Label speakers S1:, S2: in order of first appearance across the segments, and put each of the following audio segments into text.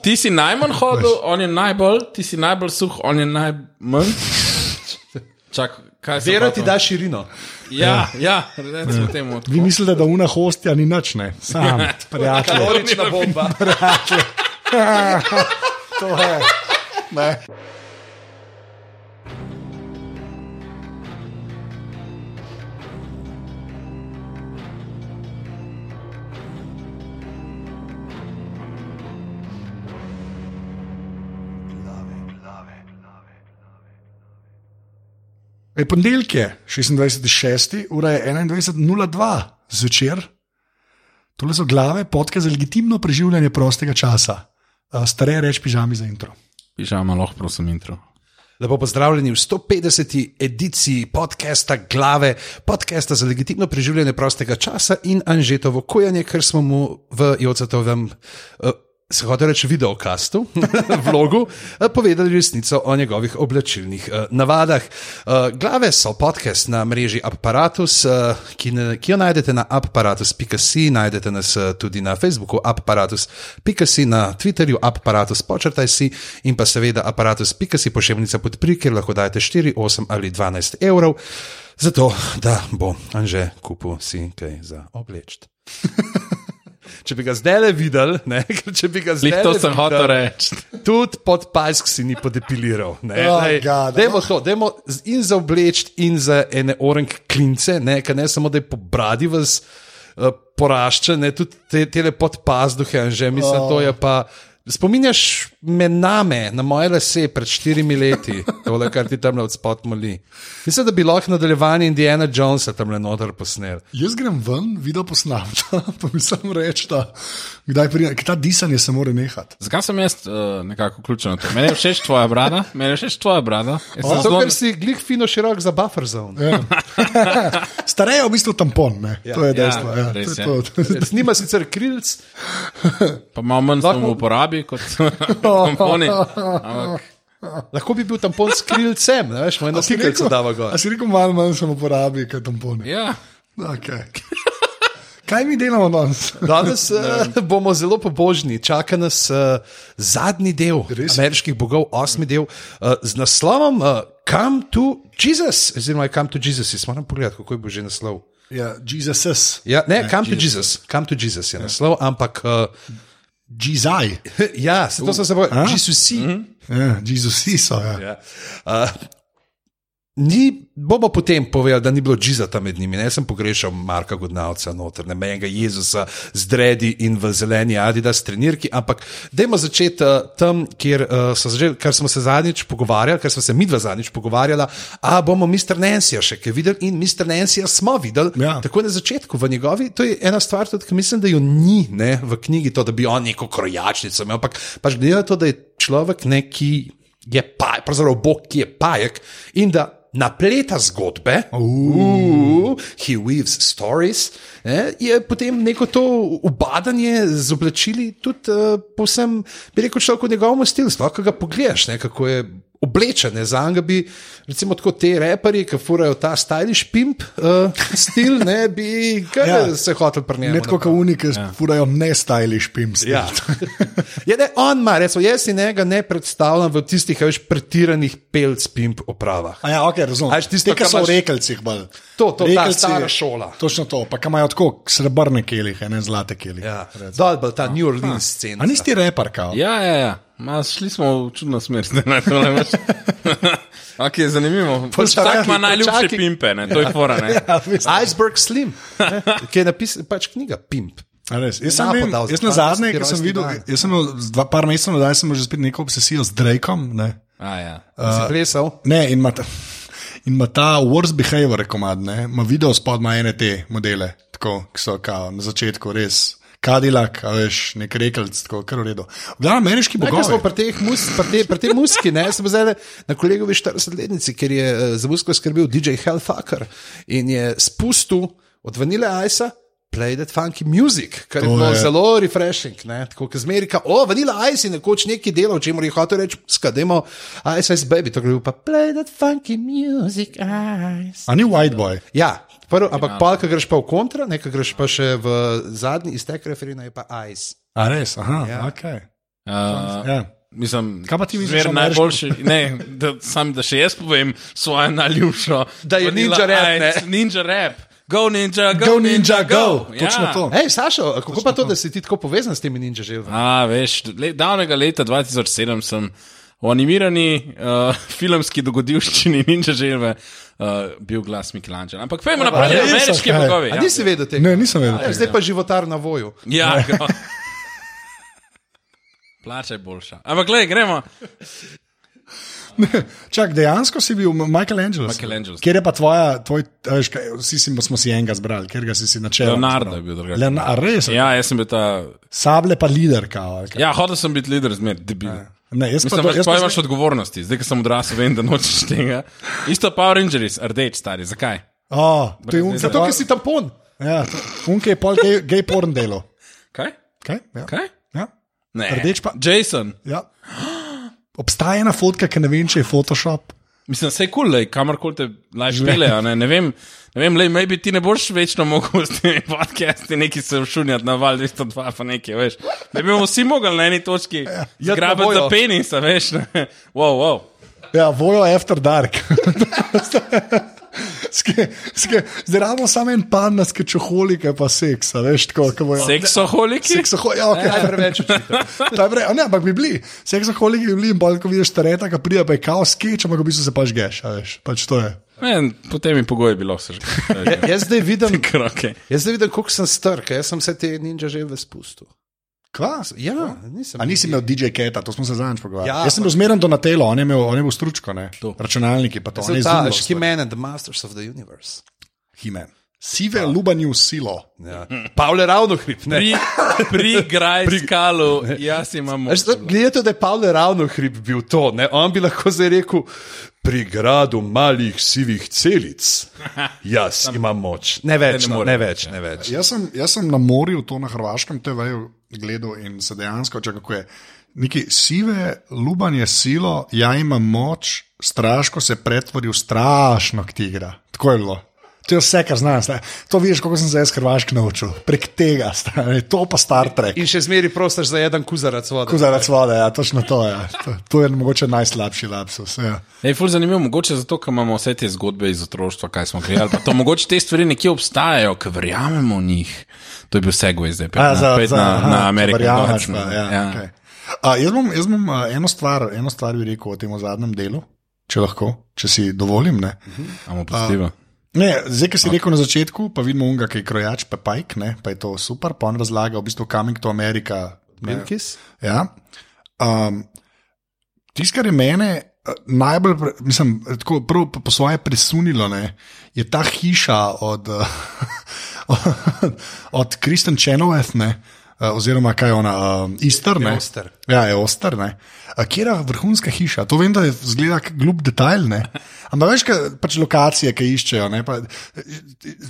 S1: Ti si najmanj hodil, on je najbolj, ti si najbolj suh, on je najmanj. Čak, kaj se
S2: Vera ti da širino.
S1: Ja, ja, recimo temu.
S3: Vi mislite, da una hostja ni nič, ne? Sam, prijatelj.
S2: Kalorična bomba.
S3: To je. Ne. E, ponedeljek je 26.6., ura je 21.02 zvečer. Tole so glave, podke za legitimno preživljanje prostega časa. Eh, Stare reči pižami za intro.
S1: Pižama, lahko prosim, intro.
S2: Lepo pozdravljeni v 150. ediciji podcasta Glave, podcasta za legitimno preživljanje prostega časa in Anžetovo kojanje, ker smo mu v Jocetovem. Uh, Se hoče reči, videokastu, vlogu, eh, povedali resnico o njegovih oblačilnih eh, navadah. Eh, Glave so podcast na mreži Apparatus, eh, ki, ne, ki jo najdete na apparatus.si, najdete nas eh, tudi na Facebooku apparatus.si, na Twitterju apparatus počrtaj si in pa seveda apparatus.si pošiljnica podpri, kjer lahko dajete 4, 8 ali 12 evrov, zato da bo Anže kupil si kaj za obleč. Če bi ga zdaj le videl, ne, ker če bi ga zdaj
S1: Lih
S2: le
S1: to
S2: videl,
S1: sem hotel reči.
S2: Tudi pod pask si ni podepiliral. Ne,
S3: Oh,
S2: Daj,
S3: God.
S2: Dajmo to, dajmo z- in za obleč, in za ene orenk klince, ne, ker ne samo da je po bradi vas eh, porašča, ne, tudi te, tele pod pazduhe, že mislim, oh. to je pa. Spominjaš me name, na moje lase pred štirimi leti, tole, kar ti tam od spod moli. Mislim, da bi lahko nadaljevanje Indiana Jonesa tam le noter posnel.
S3: Jaz grem ven, video posnamem, pa mi sam reče, da kdaj pride, ta disanje se mora nehati.
S1: Zakaj sem jaz uh, nekako vključen? v to? Meni je všeč tvoja brada, meni je všeč tvoja brada. Jaz sem
S2: Zato,
S1: zelo-
S2: ker si glih fino širok za buffer zone.
S3: Ja. Stare je v bistvu tampon, ne? Ja, to je
S1: ja,
S3: dejstvo. Ja,
S1: res
S3: to
S1: je.
S3: je to.
S2: Nima sicer krilc,
S1: Pa malo manj sem v uporabi kot komponi.
S2: Lahko bi bil tampon s krilcem, ne veš, moj
S3: A si
S2: naslikajco
S3: rekel-
S2: dava
S3: A
S2: gor.
S3: si rekel, malo manj sem uporabil, kaj tampone.
S1: Ja,
S3: Okay. Kaj mi delamo danes?
S2: Danes eh, bomo zelo pobožni, čaka nas eh, zadnji del Res? ameriških bogov, osmi del, eh, z naslovom eh, Come to Jesus, oziroma Come to Jesus, jaz moram pogledati, kako je bil že naslov.
S3: Ja, Jesus,
S2: Ja, ne, Come to Jesus, Ja. Come to Jesus je naslov, ampak eh,
S3: Jesus,
S2: ja, se to sem se bojal, Jesusi.
S3: ja, Jesusi so. Ja.
S2: Ja. Uh, Ni, bomo potem povedali, da ni bilo Džizata med njimi. Ne? Jaz sem pogrešal Marka Godnavca, noter, ne menjega Jezusa z dredi in v zeleni Adidas trenirki, ampak dajmo začeti uh, tam, kjer, uh, začeli, kar smo se zadnjič pogovarjali, ker smo se midva zadnjič pogovarjala, a bomo Mr. Nansija še kaj videli in Mr. Nansija smo videli.
S3: Ja.
S2: Tako na začetku, v njegovi, to je ena stvar, tudi, ki mislim, da jo ni ne, v knjigi, to, da bi on neko krojačnico imel, ampak pač glede na to, da je človek neki, je pa, pravzaprav Bog, ki je pajek in da napleta zgodbe, uh, he weaves stories, ne, je potem neko to ubadanje z oblačili tudi uh, povsem, bi rekel, človek v njegovem stilu, sploh ko ga pogledaš, ne, kako je oblečene, za njega bi, recimo, tako te reperje, ki furajo ta stylish pimp uh, stil, ne bi kar
S3: Ja.
S2: ja. se hotel
S3: Ne
S2: prenesti.
S3: tako kot unike, ki ja. furajo ne stylish pimps.
S2: Ja. Je, ne, on ima, res, jaz si njega ne predstavljam v tistih, a veš, pretiranih pelc pimp opravah.
S3: A ja, ok, razumem.
S2: A je
S3: Te,
S2: tisto,
S3: ki
S2: kar
S3: so
S2: imaš-
S3: v rekelcih. Bolj.
S2: To, to, ta stara šola.
S3: Točno to, pa ki imajo tako srebrne kelihe, ne zlate kelihe.
S2: Ja, Dolbel, ta New Orleans
S3: A
S2: scena.
S3: nisi repar, kao?
S1: ja, ja. ja. Ma, šli smo v čudno smer, zdaj ne to ne veš. okay, zanimivo.
S2: Počakaj, Ja.
S1: Vsak ima najljubše
S2: počakaj.
S1: pimpe, ne? to je fora. Ne?
S3: Ja,
S2: Iceberg Slim, ne, ki je napisal pač knjiga Pimp.
S3: A res? Jaz sem
S2: Napo
S3: bil,
S2: dal za
S3: jaz na
S2: 12.
S3: zadnje, ki sem
S2: rojstni
S3: videl,
S2: dan.
S3: jaz sem imel z dva, par mesecev nazaj, sem imel že spet neko obsesijo z Drakeom. Ne,
S1: A, ja.
S2: Uh, si plesal?
S3: ne in ima ta, in ima ta worst behavior komad, ne, ima video spod ima ene te modele, tako, ki so kao, na začetku res. Kadilak, a veš, nek rekelc, tako kar v redu. Glavno, ameriški
S2: Ja, Ker smo
S3: bogovi.
S2: pri teh mus, pri te, pri te muski, ne, sem zdaj na kolegovi 40-letnici, ker je eh, za musko skrbel DJ Hellfucker in je spustil od Vanille Ice. Play that funky music, kar je
S3: To
S2: bilo
S3: je-
S2: zelo refreshing. Ne? Tako kot zmerika, o, Vanilla Ice je nekoč neki delal, če mora jih hotel reči, skademo Ice Ice Baby, to gre pa play that funky music, Ice.
S3: A ni white boy.
S2: Ja, prvo, ampak pa, ko greš pa v kontra, ne, ko greš pa še v zadnji iztek referina, je pa Ice.
S3: A res, aha, ja. ok.
S1: Uh,
S3: Ja.
S1: Mislim,
S3: Kaj pa ti
S1: zmer
S3: misliš, o ameriškem?
S1: najboljši? Ne, da, sam, da še jaz povem svojo najljubšo.
S2: Da je
S1: Vanilla
S2: ninja rap,
S1: Ice,
S2: ne?
S1: Ninja rap. Go ninja, go,
S3: Go ninja, go.
S1: go. Ja.
S3: Točno to.
S2: Hej, Sašo, kako pa to, da si ti tako povezan s temi ninja želvami?
S1: A, veš, le, davnega leta 2007 sem v animirani uh, filmski dogodivščini Ninja Želve uh, bil glas Michelangelo. Ampak pojmo naprej,
S3: res,
S1: ameriški
S3: kaj?
S1: bogovi. ja.
S2: A nisi vedel tega?
S3: Ne, nisem vedel.
S2: Ja,
S3: tega.
S2: zdaj pa životar na voju.
S1: Ja, go. plačaj boljša. Ampak gledaj, gremo.
S3: Čak, dejansko si bil Michelangelo.
S1: Michelangelo.
S3: Kjer je pa tvoja, tvoj, a veš, kaj, vsi si, smo si enega zbrali, ker ga si, si načel.
S1: Ja, Leonardo je bil drugačen.
S3: Leonardo, res. Ja.
S1: Ja, jaz sem bil ta.
S3: Sable pa lider, kao. ali kaj.
S1: Ja, hotel sem biti lider zmer, debil.
S2: Ja.
S3: Ne, jaz
S1: Mislim, da
S3: pa, do- jaz
S1: pa
S3: pa
S1: imaš
S3: zdaj-
S1: odgovornosti, zdaj, ko sem odrasel, vem, da nočeš tega. Isto Power Rangers, rdeč, stari, zakaj?
S3: O, to je unke.
S2: Zato, ker si tampon.
S3: Ja, unke je pol gej, gej porn delo.
S1: Kaj?
S3: Kaj? Ja.
S1: Kaj?
S3: Ja.
S1: Ne.
S3: Rdeč pa-
S1: Jason.
S3: ja. Obstaja ena fotka, ki ne vem, če je Photoshop.
S1: Mislim, vse je kul, cool, kamorkoli te lažje pele. a Ne? ne vem, ne vem lej, maybe ti ne boš večno mogel s temi podcasti neki se všunjati na val 202, pa nekaj, veš. Ne bi bomo vsi mogli na eni točki
S2: na
S1: grabiti
S2: bojo.
S1: za penisa, veš. Ne? Wow, wow.
S3: Ja, vojo after dark. Ske, ske, zdaj imamo samo en pan na skečoholike, pa seksa, veš, tako kot bojo.
S1: Seksoholiki?
S3: Seksoho- ja, okay.
S2: Kaj preveč očitno.
S3: Ta je prej- a Ne, ampak bi bili, seksoholiki bi bili in bolj, ko vidiš tereta, ki pride, pa je kao skeč, ampak v bistvu se pač geš, a veš, pač to je.
S1: Ne, potem je pogoj bilo vse že.
S2: Ja, Jaz zdaj vidim,
S1: Ker, okay.
S2: jaz zdaj vidim koliko sem star, ker jaz sem vse te ninja želve spustil.
S3: Klas.
S2: Ja, nisem.
S3: A nisi imel DJ Keta, to smo se zadnjič pogovarjali.
S2: Ja,
S3: Ja, Jaz sem bil zmeren do Natelo, on je imel, on je bil stručko, ne? računalniki pa to. on je
S2: Ja, Ta,
S3: izumljal
S2: še He-Man and the Masters of the Universe.
S3: stvari. He-Man. Sive lubanju silo.
S2: Ja. Pavle ravno hrib. Ne.
S1: Mhm. Pri, pri Grajskalu, jaz imam
S2: Veš, to- Glede to, da je Pavle ravno hrib bil to, ne? on bi lahko zdaj rekel, pri gradu malih sivih celic, jaz imam moč. Ne več,
S1: ne
S2: no,
S1: more. ja.
S2: ne več, ne več.
S3: Jaz sem, jaz sem na morju, to na Hrvaškem TV-ju gledal in se dejansko čakal, kako je. Neki sive, lubanje silo, ja imam moč, strašno se pretvori v strašno tigra. Tako je bilo. To je vse, kar znaš. ne. To vidiš, kako sem se jaz hrvaški naučil. Prek tega, stane. to pa Star Trek.
S2: In še zmeri prostaš za en kuzarac vode.
S3: Tako zaradi svode, ja, točno to je. Ja. To, to je mogoče najslabši lapsus. Ja.
S1: Je ful zanimivo, mogoče zato, ker imamo vse te zgodbe iz otroštva, kaj smo gledali. pa To, mogoče te stvari nekje obstajajo, ker verjamemo v njih. To je bil segway zdaj,
S3: A,
S1: pet, na, pet na,
S3: aha,
S1: na no. Ameriko.
S3: verjameš pa, Ja, ja. Okay. A, jaz bom, jaz bom a, eno, stvar, eno stvar bi rekel o tem zadnjem delu, če lahko, če si dovolim. Ne,
S1: Amo postiva.
S3: ne zdaj, ki si okay. rekel na začetku, pa vidimo unga, ki je krojač, pa pajk, ne, pa je to super, pa on razlaga v bistvu Coming to America. ne.
S2: Bilkis?
S3: Ja. Um, Tisto, kar je mene eh, najbolj, pre- mislim, eh, tako prav po- po svoje presunilo, ne, je ta hiša od, eh, od Kristen Chenoweth, ne, eh, oziroma kaj je ona, um, Easter. Ne,
S2: Oster.
S3: Ja, je oster. ne. A Kjer je vrhunska hiša? To vem, da je zgleda k- glup detajl. Ne? Ampak veš, kaj, pač lokacije, ki iščejo. ne, Pa,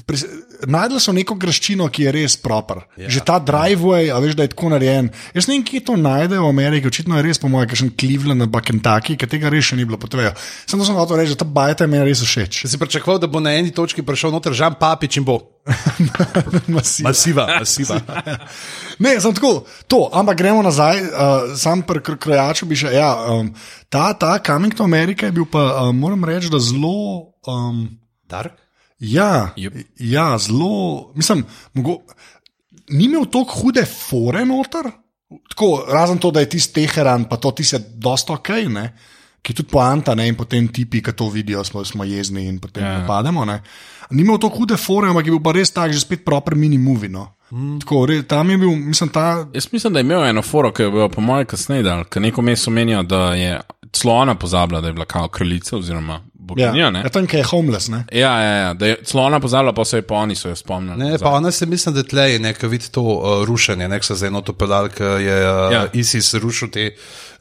S3: pri- najdel so neko graščino, ki je res proper. Ja. Že ta driveway, a veš, da je tako narejen. Jaz ne vem, kje to najdejo v Ameriki, očitno je res, po mojem, kakšen Cleveland, pa Kentucky, ki tega res še ni bilo potrebno. Sem to sem hotel reči, da ta bajta mi je res všeč.
S2: Če si pričakoval, da bo na eni točki prišel noter Žan Papič in bo
S3: Masiv.
S2: masiva, masiva.
S3: Ne, sem tako, to, ampak gremo nazaj, uh, sam pri kr- krojaču bi še. Ja, um, ta, ta Coming to America je bil pa, uh, moram reči, da zelo. Um,
S2: Dark?
S3: ja,
S1: Yep.
S3: ja, zelo. Mislim, mogo, ni imel tako hude fore noter, tako, razen to, da je tisti Teheran, pa to ti se dosta ok, ne, ki je tudi poanta, ne, in potem tipi, ki to vidijo, smo, smo jezni in potem
S1: Ja.
S3: yeah. pademo. Ne. Ni imel tako hude fore, ampak je bil pa res tak, že spet proper mini movie. No. Mm. Tako, re, tam je bil, mislim, ta
S1: Jaz mislim, da je imel eno foro, ki je bilo po mojem kasneje dal, ker neko mesto menijo, da je celo ona pozabila, da je bila kao kraljica oziroma
S3: Ja,
S1: boginja. ne.
S3: ja tam, ki je homeless. Ne?
S1: Ja, ja, ja, da je celo ona pozabila, pa so jo pa oni so jo spomnili.
S2: Ne, pa ona se mislim, da tle je nekaj vid to uh, rušenje, nek se za eno to pedal, ki je uh, ja.
S1: Ja.
S2: ISIS rušil te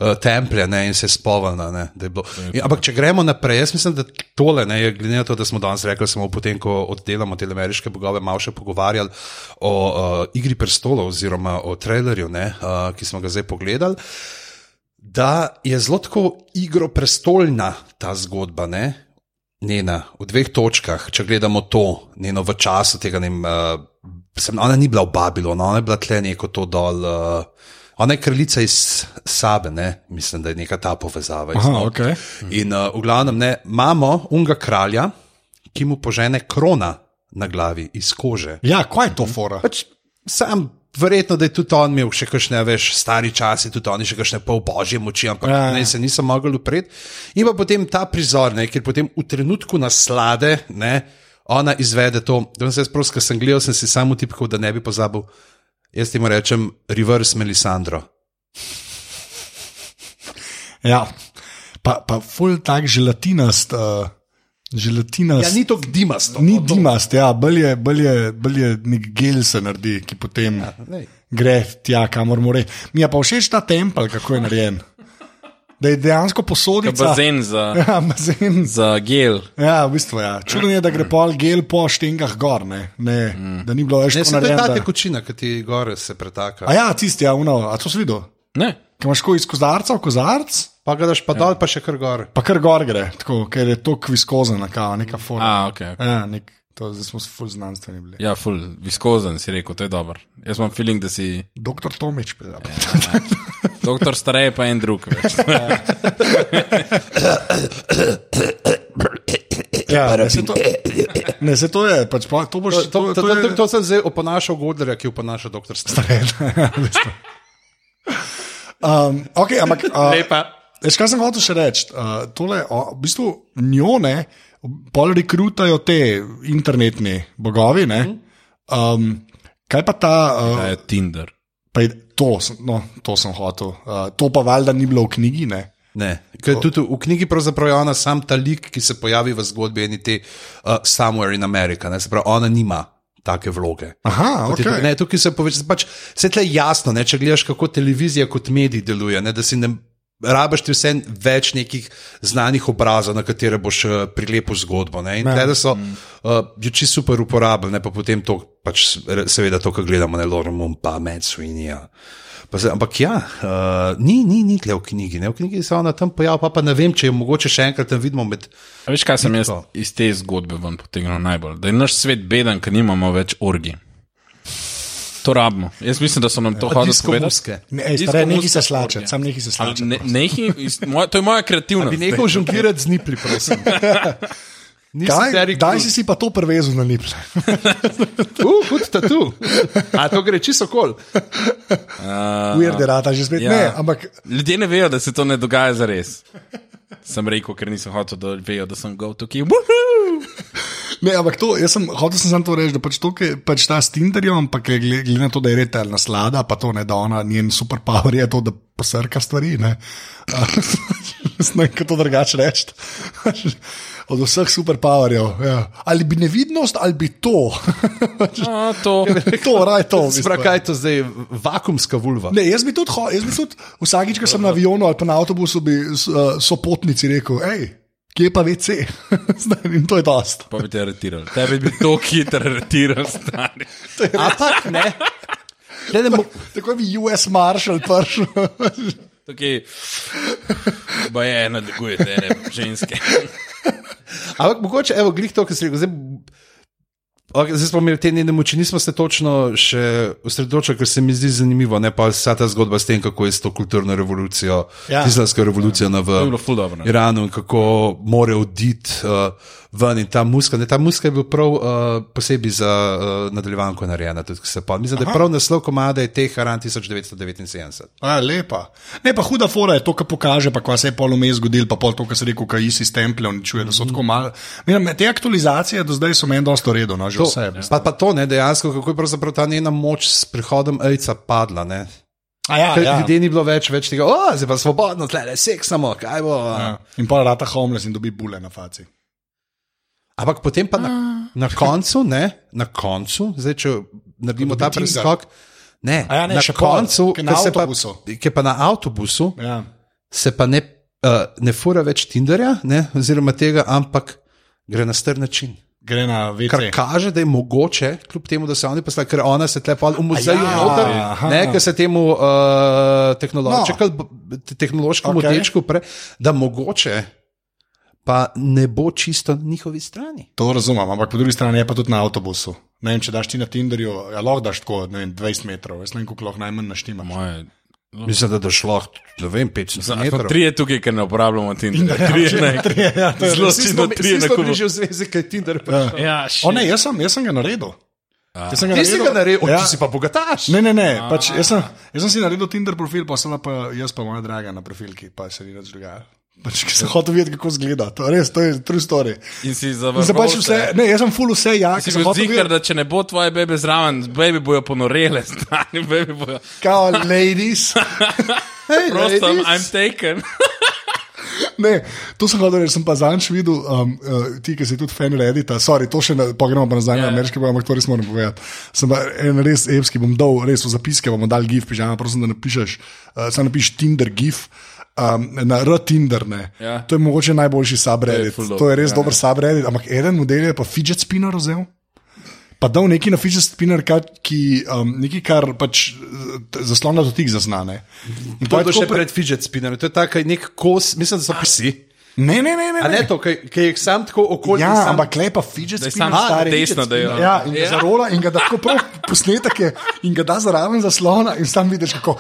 S2: uh, templje ne, in se spovalna. Ne, da je bilo. in, ampak če gremo naprej, jaz mislim, da tole, ne, je, glede na to, da smo danes rekli, samo potem, ko oddelamo te ameriške bogove, malo še pogovarjali o uh, igri prestolov oziroma o trailerju, ne, uh, ki smo ga zdaj pogledali da je zelo tako igroprestolna ta zgodba, ne? Njena, v dveh točkah, če gledamo to, njeno v eh, času tega, ne vem, uh, sem, ona ni bila v Babilonu, ona je bila tle neko to dol, uh, Ona je kraljica iz Sabe, ne? mislim, da je neka ta povezava. iz
S3: Aha,
S2: nog.
S3: okej.
S2: In uh, v glavnem, ne, imamo unga kralja, ki mu požene krona na glavi iz kože.
S3: Ja, kaj je to fora?
S2: Pač sam. Verjetno, da je tudi on imel še kakšne, veš, stari časi, tudi oni še kakšne pol božje moči, ampak
S3: Ja,
S2: ja.
S3: ja.
S2: ne, se nisem mogel upreti. In pa potem ta prizor, ne, ker potem v trenutku naslade, ne, ona izvede to. Da sem se sprosil, ker sem gledal, sem si samo tipkal, da ne bi pozabil. Jaz temu rečem reverse Melisandro.
S3: Ja. Pa, pa ful tak želatinast. Uh, želatinast.
S2: Ja, ni to gdimasto.
S3: Ni dimast, ja, bolje je, bolj je, bolj je nek gel se naredi, ki potem ja,
S2: lej.
S3: gre tja, kamor more. Mi je pa všeč ta tempel, kako je narejen. Da je dejansko posodica.
S1: Bazen za,
S3: Ja, bazen.
S1: za gel.
S3: Ja, v bistvu, ja. Čudno je, da gre pol gel po štengah gor, ne. ne
S1: Mhm.
S3: mm. Da ni bilo več
S2: Ne,
S3: tako
S2: se to je
S3: narejeno.
S2: ta
S3: da-
S2: tekočina, ki ti gore se pretaka.
S3: A ja, tisti, ja, uno, a to si videl?
S1: Ne.
S3: Kaj imaš ko iz kozarca v kozarc,
S2: Pa ga daš pa dol, pa še kar gor.
S3: pa kar gor gre, tako, ker je to kviskozen, kao, neka forma.
S1: A, okay, okay.
S3: Ja, nek, to zdaj smo ful znanstveni bili.
S1: Ja, ful, viskozen si rekel, to je dobro. Jaz imam feeling, da si
S3: Doktor Tomič, pa.
S1: doktor starej, pa en drug. veš.
S3: Ja, ne, se to, ne, se to je, pač, pa, to boš
S2: To, to, to, to,
S3: je-
S2: to, to sem zdaj oponašal Godlerja, ki oponaša doktor Stare.
S3: Um, okay, ampak, uh,
S1: Lepa.
S3: Veš, kaj sem hotel še reči? Uh, tole, o, v bistvu njo ne, pol rekrutajo te internetni bogovi. Ne? Um, kaj pa ta,
S1: To
S3: uh,
S1: je Tinder.
S3: pa je, to, sem- no, to sem hotel, uh, to pa valjda ni bilo v knjigi. Ne?
S2: Ne, ker tudi v knjigi pravzaprav je ona sam ta lik, ki se pojavi v zgodbi eni te uh, Somewhere in America. Ne, se pravi, ona nima take vloge.
S3: Aha,
S2: Kot je
S3: okay.
S2: to- Ne, tukaj se poveča, pač, se tle jasno, ne, če gledaš, kako televizija kot medij deluje, ne, da si ne rabiš ti vse več nekih znanih obrazov, na katere boš eh, prilepil zgodbo. Ne, in
S3: Ja.
S2: tle, da so uh, jo čisto super uporabljene, pa potem to, pač, re- seveda to, kar gledamo, ne Loren Mum, pa Med Sweeneyja. Pa se- Ampak ja, uh, ni, ni, ni tle v knjigi, ne, v knjigi se ona tam pojavlja, pa, pa ne vem, če jo mogoče še enkrat tam vidimo med.
S1: A veš, kaj sem jaz
S2: To.
S1: iz te zgodbe ven potegnil najbolj? Da je naš svet beden, ker nimamo več orgi. To rabimo. Jaz mislim, da so nam to hodili
S2: disko muske.
S3: Ne, ej,
S1: Disko
S3: stare, neki
S1: muzika
S3: se slače,
S1: orgija.
S3: sam neki se slače.
S1: Ne, nehi, iz, moja, to je moja kreativnost.
S2: Bi nekaj žonglirati z nipli, prosim. Nisi
S3: Kaj,
S2: Terry
S3: daj
S2: Crews.
S3: si si pa to prevezal na liple.
S2: Uh, hud tatu. A to gre čisto kol.
S3: Ujerde rata že spet. Ja.
S1: Ja.
S3: Ne, ampak
S1: Ljudje ne vejo, da se to ne dogaja za res. Sem rekel, ker nisem hotel, da vejo, da sem gov tukaj. Woohoo!
S3: Ne, ampak to, jaz sem hotel sem samo to reči, da pač to, kar pač ta s Tinderjem, ampak glede, glede na to, da je reta naslada, pa to ne da ona, njen superpower je to, da posrka stvari. Ne, Jaz ne vem, kako to drugače reči. Od vseh superpowerjev. Ja. Ali bi nevidnost, ali bi to.
S1: A, to.
S3: to, raj to. v bistvu. ja.
S2: Sprav, kaj je to zdaj, vakumska vulva?
S3: Ne, jaz bi tudi, ho- jaz bi tudi vsakič, ko sem na avionu ali pa na avtobusu, bi s- eh, sopotnici rekel, hej, kje pa VC? Zdaj, in to je dost.
S1: Pa bi te aretirali. Tebe bi to hitro aretiral, stari.
S2: Ampak ne. Ne, ne, mo-
S3: Tako bi US Marshal prišel.
S1: Tukaj, ba je, nadlegujete, ne, ženske.
S2: Ampak mogoče, evo, glih to, kar si rekel. Zdaj, okay, zdaj smo imeli te njene moči, nismo se točno še osredotočili, ker se mi zdi zanimivo, ne pa vsa ta zgodba s tem, kako je s to kulturno revolucijo,
S3: Ja.
S2: ja. islamsko revolucijo ja.
S1: To je
S2: v
S1: bilo ful dobro. ne.
S2: Iranu in kako more oditi uh, ven in ta muska. Ne, ta muska je bila prav uh, posebej za uh, nadaljevanko narejena. Tudi, ko se pa- Mislim, da je prav naslov komada je teh Aran 1979.
S3: A, lepa. Ne, pa huda fora je to, kar pokaže, pa kva se je pol vmes zgodil, pa pol to, kar se reče, kaj isi stemple, uničuje, da so tako malo. Mislim, te aktualizacije do zdaj so meni dosto redo, no, že to, vse. Ja.
S2: Pa, pa to ne dejansko, kako je pravzaprav ta njena moč s prihodom AIDS-a padla. Ne?
S3: A, ja,
S2: Ker
S3: ja.
S2: ja. ljudje ni bilo več, več tega, "O, zdaj pa svobodno, tle le seks samo, kaj bo. Ja.
S3: Ja. In pa rata homeless in dobi bule na faci.
S2: Ampak potem pa na, na koncu, ne, na koncu, zdaj če naredimo ta
S3: Tinder.
S2: preskok. Ne,
S3: A ja, ne,
S2: na
S3: še pol,
S2: koncu,
S3: ke na
S2: ker se pa,
S3: avtobusu.
S2: ker pa na avtobusu,
S3: Ja.
S2: se pa ne, uh, ne fura več Tinderja, ne, oziroma tega, ampak gre na star način.
S3: Gre na
S2: Kar
S3: VC.
S2: kaže, da je mogoče, kljub temu, da se oni poslali, ker ona se tle pa v muzeju
S3: Aja,
S2: noter,
S3: Ja, aha.
S2: ne, ker se temu uh, tehnološkemu, no. tehnološkemu
S3: Okej.
S2: okay. dečku pre, da mogoče pa ne bo čisto na njihovi strani.
S3: To razumem, ampak po drugi strani je pa tudi na avtobusu. Ne vem, če daš ti na Tinderju, ja, lahko daš tako, ne vem, 20 metrov, jaz ne vem, koliko lahko najmanj naštima.
S1: Moje
S2: Mislim, da daš lahko, ne vem, 500 metrov.
S1: Tri je tukaj, ker ne uporabljamo Tinderja. Tri je ne. Zelo sitno tri je na kubu.
S2: že v zvezi, kaj Tinder
S3: Ja.
S1: Ja,
S3: O ne, jaz sem, jaz sem ga naredil. Jaz sem ga
S2: Ti si ga naredil,
S3: Ja.
S2: ja. ti si pa bogataš.
S3: Ne, ne, ne. Pač, jaz, sem, jaz sem si naredil Tinder profil, pa sem pa jaz pa moja draga na profilki, pa se ni nič dogajalo. Pač, ker sem
S2: Ja.
S3: hotel videti, kako zgleda. To, je res, to je true story.
S1: In si
S3: In sem pač vse,
S1: zavrnil.
S3: ne, jaz sem full vse, ja,
S1: Si
S3: ki sem
S1: bil
S3: hotel
S1: zikar,
S3: videti.
S1: da če ne bo tvoje bebe zraven, bebe bojo ponorele, stani bebe bojo.
S3: Kao, ladies. hey,
S1: Prosto, I'm, I'm taken.
S3: Ne, to sem hodil, sem pa zanj videl, um, uh, ti, ki si tudi fan Reddita, sorry, to še ne, pa gremo pa nazaj yeah.
S1: Ja.
S3: na ameriški boj, ampak to res moram povedati. Sem pa en res evski, bom dal res v zapiske, bomo dal gif, pižama, prosim, da napišeš, uh, sam napiš Tinder gif. Um, na R-Tinder.
S1: Ja.
S3: Yeah. To je mogoče najboljši subreddit.
S1: ful
S3: To je,
S1: dober,
S3: to je res
S1: ja,
S3: yeah. dober subreddit, ampak eden model je pa fidget spinner vzel. Pa dal neki na fidget spinner, kar, ki, um, nekaj, kar pač zaslon na dotik zaznane. In
S2: To
S3: tako
S2: je bilo še
S3: pre-
S2: pred fidget spinnerjem, to je tako nek kos, mislim, da so psi.
S3: Ne, ne, ne. Ja, ne,
S2: A ne to, ki ki jih sam tako okolje.
S3: Ja,
S2: sam...
S3: ampak lepa fidget
S1: Da je
S3: spinner,
S1: sam
S3: stari
S1: desno
S3: fidget spinner.
S1: dajal.
S3: Ja, in ga
S1: Ja.
S3: zarola in ga da tako prav posnetek je in ga da zraven zaslona in sam vidiš, kako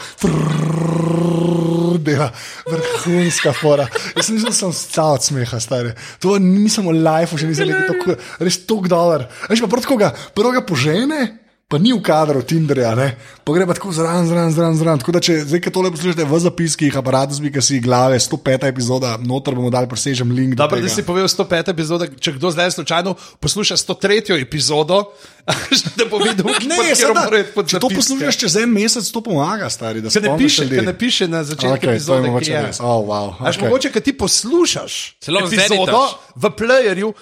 S3: frrrr dela vrhunska fora. Jaz sem mislil, da sem stal od smeha, stari. To ni samo life, še nisem videl tako, res tok dolar. Veš pa prav tako ga, prvo ga požene. Pa ni v kadru Tinderja, ne? pa gre pa tako zraven, zraven, zraven. zraven. Tako da, če zdaj, ki tole poslušate v zapiskih, aparatus bi, ki si glave, 105. epizoda, noter bomo dali, presežem link. do
S2: Dobro, da
S3: tega.
S2: si povedal 105. epizodo, če kdo zdaj slučajno posluša 103. epizodo, da bo videl, pod
S3: Ne,
S2: katero
S3: seveda,
S2: mora iti pod
S3: če to
S2: zapiske.
S3: poslušaš čez en mesec, to pomaga, stari. Da
S2: Ker ne piše, ker ne piše na začetku okay,
S3: okay, to je
S2: epizode, ki
S3: mogoče
S2: je.
S3: res. Oh, wow,
S2: Až
S3: okay.
S2: mogoče, ker ti poslušaš
S1: Celo
S2: epizodo
S1: zeditaš.
S2: v playerju,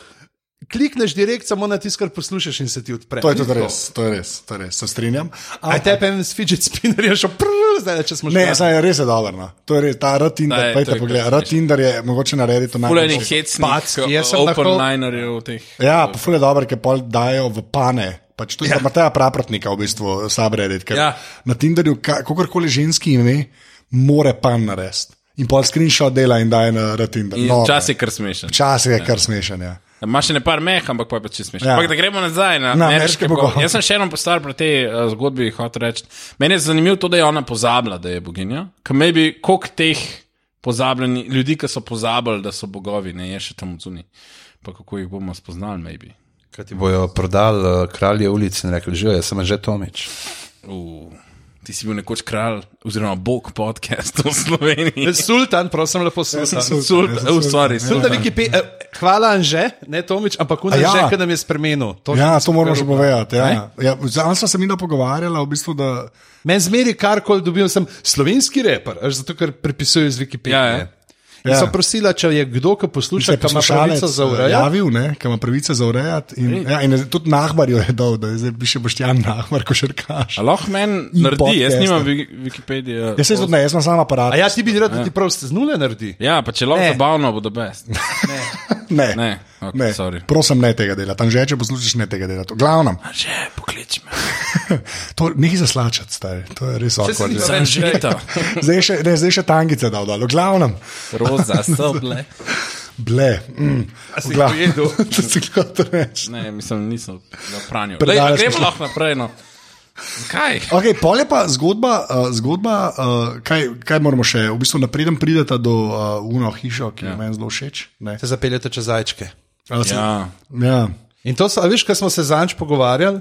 S2: klikneš direkt samo na tisto, kar poslušaš in se ti odpre.
S3: To je tudi res, to je res, to je res, se strinjam.
S2: A te pa en s fidget spinnerjem še prrr, zdaj če smo že.
S3: Ne, saj je res je dobro. No. To je res, ta
S1: Da
S3: Ratinder,
S1: je, to
S3: pejte
S1: je
S3: pogled.
S1: kar
S3: Ratinder je mogoče narediti to
S1: Puleni
S3: najbolje.
S1: hecnik,
S2: Pack, jaz sem lahko-
S1: openlinerjev teh.
S3: Ja, pa fule dobro, ker pol dajo v pane. Pač to je ja. Mateja Praprotnika, v bistvu, subreddit.
S1: Ja.
S3: Ja. Na Tinderju, ka- kakorkoli ženski ime, more pan narediti. In pol screenshot dela in daje na Ratinder.
S1: In
S3: Noro.
S1: včasih je kar smešen.
S3: Včasih je kar smešen. Ja.
S1: Imaš še nekaj meh, ampak pa je pač čisto smešno.
S3: Ja.
S1: Ampak da gremo nazaj na,
S3: Na ameriške
S1: ameriške
S3: bogove.
S1: bogove. Jaz sem še eno stvar pri tej uh, zgodbi hotel reči. Meni je zanimivo to, da je ona pozabila, da je boginja. Ker me bi koliko teh pozabljenih ljudi, ki so pozabili, da so bogovi, ne je še tam zunaj. Pa kako jih bomo spoznali, maybe.
S2: Kaj ti bojo prodali eh, kralje ulic in rekli, že, jaz sem že Tomič.
S1: Uh, ti si bil nekoč kralj, oziroma bog podcast v Sloveniji.
S2: Sultan, prosim, lepo sultan.
S1: Sultan, uh,
S3: oh,
S1: sorry,
S2: Sultan
S1: sultan.
S2: Wikipedia, eh, hvala Anže, ne Tomič, ampak on
S3: A
S2: je
S3: ja.
S2: že, ker nam je spremenil. To še
S3: Ja,
S2: nisem
S3: to moramo še
S2: prebrala.
S3: povedati. Ja. Ja, Zanj smo se mi pogovarjali, v bistvu, da
S2: Meni zmeri karkoli dobil, sem slovenski reper, až zato ker prepisujem iz
S1: Ja,
S2: Wikipedije.
S1: ja.
S2: Ja, ja.
S3: Ja. eh,
S2: Sem prosila, če je kdo, ki posluša, ki ima pravico za urejanje.
S3: javil, ne, ki ima pravico za urejati. In, ja, in je- tudi Nahbar jo je dal, da je zdaj še boštjan Nahbar, ko šerkaš.
S1: Aloh meni naredi, jaz
S3: podcaste.
S1: nimam Wiki- Wikipedije.
S3: Jaz se tudi ne, jaz imam sam aparat.
S2: A ja, ti bi rad, da ti prav z nule naredi.
S1: Ja, pa če
S2: Ne.
S1: lahko zabavno, bo do best.
S3: Ne,
S1: Ne, ok,
S3: ne.
S1: sorry.
S3: prosim, ne tega dela. Tam že če poslušaš, ne tega dela. To- Glavnem,
S1: Že poklič me.
S3: to nekaj zaslačati, stari. to je res
S2: ni
S3: okvarno.
S2: pa-
S1: Sem želita.
S3: Zdaj še, ne, zdaj še tangice dal dol. Glavnem,
S1: Roza, soble.
S3: ble. Mm,
S2: A
S3: v
S2: si
S3: glav-
S2: jih pojedel?
S3: To si kot reč.
S1: Ne, mislim, nisem na pranju. Lej,
S3: Predaleč
S1: a gremo
S3: smo Ja. šli.
S1: lahko naprej. No. Kaj?
S3: Okay, pol je pa zgodba, uh, zgodba uh, kaj, kaj moramo še, v bistvu napreden pridete do uh, uno hišo, ki ja. je meni zelo všeč. ne.
S2: Se zapeljete čez zajčke.
S3: A se-
S1: Ja.
S3: ja.
S2: In to, so, a veš, kar smo se zanč pogovarjali.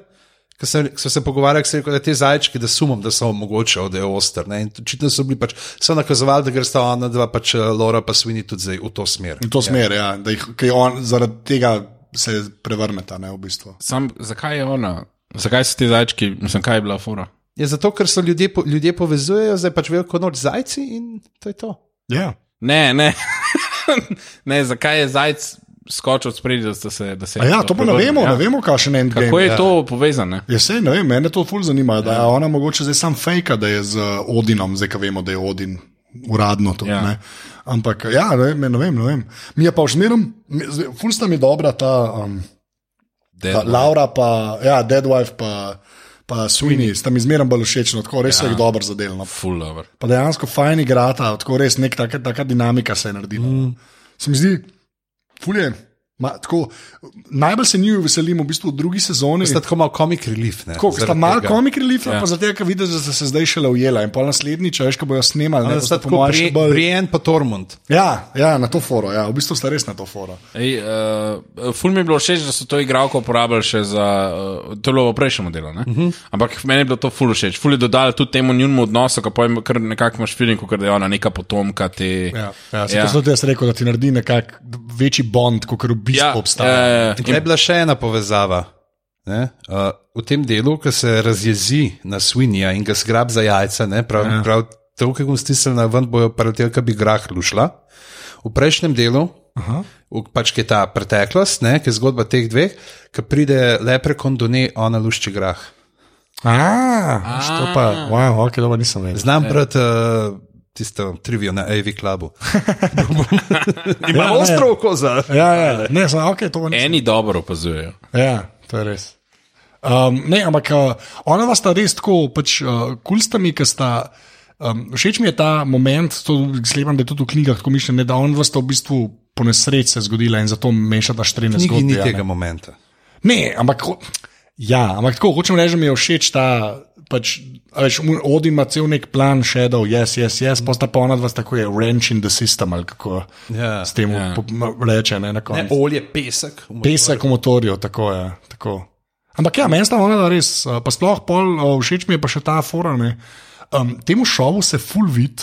S2: Ko sem, ko sem se pogovarjal, sem rekel, da te zajčki, da sumim, da so mogoče, da je oster. ne. In Očitno so bili pač, so nakazovali, da gre sta ona dva, pač eh, Lora pa Svini tudi zdaj v to smer.
S3: V to smer, ja. da jih kaj on zaradi tega se prevrneta, ne v bistvu.
S1: Sam, zakaj je ona? Zakaj so ti zajčki? Mislim, kaj je bila fora?
S2: Je zato, ker so ljudje, po- ljudje povezujejo, zdaj pač vejo, kot noč zajci in to je to.
S3: Ja.
S1: Ne, ne. ne zakaj je zajc skočil spredi, da, sta se, da se
S3: A Ja, to pa ne vemo, ja. ne ja. vemo, kakšen je endgame.
S1: Kako je to Ja. povezano? ne?
S3: Jaz se ne vem, mene to ful zanima, da je ona mogoče zdaj sam fejka, da je z uh, Odinom, zdaj ko vemo, da je Odin uradno to.
S1: Ja.
S3: Ja. Ampak ja, ne vem, ne vem, ne vem. Mi je pa vzmerom, ful sta mi dobra ta. Um,
S1: Dead
S3: Ta, Laura, pa, ja, Deadwife, pa, pa Sweeney, sta mi zmeraj bolj všeč, no, tako res ja. je dobro zadelno.
S1: Full lover.
S3: Pa dejansko fajn igrata, tako res nek taka, taka dinamika se je naredila. Mm. Se mi zdi, fulje, Ma, tako, najbolj se njiju veselim v bistvu v drugi sezoni.
S2: Ste tako malo komik relief. ne,
S3: Tako, sta
S2: zaradi
S3: malo
S2: tega.
S3: komik relief, ja. pa zato, ker vidiš, da sta se zdaj šele ujela in pol naslednjič, a veš, ko bojo snemali, ne,
S2: Da
S3: bosta
S2: sta
S3: po
S2: tako
S3: mojem še
S2: pri,
S3: bolj-
S2: Brian pa Tormund.
S3: Ja, ja, na to foro, ja, v bistvu sta res na to foro.
S1: Ej, uh, ful mi je bilo všeč, da so to igralko uporabljali še za uh, to je bilo v prejšnjem delu. Uh
S3: Mhm.
S1: -huh. Ampak meni je bilo to ful všeč. Ful je dodal tudi temu njunemu odnosu, ki pojmo, ker nekako imaš filin, kot da je ona neka potomka te.
S3: Ja, ja, ja. To sem tudi jaz rekel, da ti naredi nekak večji bond, kot v bistvu ja, obstaja.
S1: ja, ja.
S2: In Tukaj je bila še ena povezava. Ne? Uh, v tem delu, ki se razjezi na svinja in ga zgrab za jajca, ne? prav, ja. prav to, ki bom stisnil na ven, bojo parateli, ki bi grah lušla. V prejšnjem delu, Aha. pač ki je ta preteklost, ne? ki je zgodba teh dveh, ki pride leprekon do nje, ona lušči grah.
S3: Ah, to pa, wow, ok, dobro, nisem vedel.
S2: Znam brati uh, tisto trivijo na AV klubu. Ima E.
S3: Ja, ne.
S2: ostro oko za.
S3: Ja, ja, ne, znam, ok, to pa nisem.
S1: Eni dobro opazujejo.
S3: Ja, to je res. Um, ne, ampak uh, ona vas sta res tako, pač uh, kulstami, ki sta. Um, všeč mi je ta moment, to sklepam, da je tudi v knjigah tako mišljeno, da on vas to v bistvu po nesreči se zgodila in zato mešata štrene
S2: Nikoli
S3: zgodbe.
S2: ni
S3: a ne.
S2: tega momenta.
S3: Ne, ampak, ho- ja, ampak tako hočem reči, da mi je všeč ta. Pač, a veš, Odin ima cel nek plan, Shadow, yes, yes, yes, posta pa ona dva tako je, wrench in the system, ali kako
S2: Ja,
S3: s tem
S1: ja.
S3: yeah. reče, ne na koncu.
S2: Olje, pesek. v
S3: Pesek v motorju, tako je. Tako. Ampak ja, meni sta ona dva res, eh, pa sploh pol, eh, všeč mi je pa še ta fora. ne. Um, temu šovu se full vid.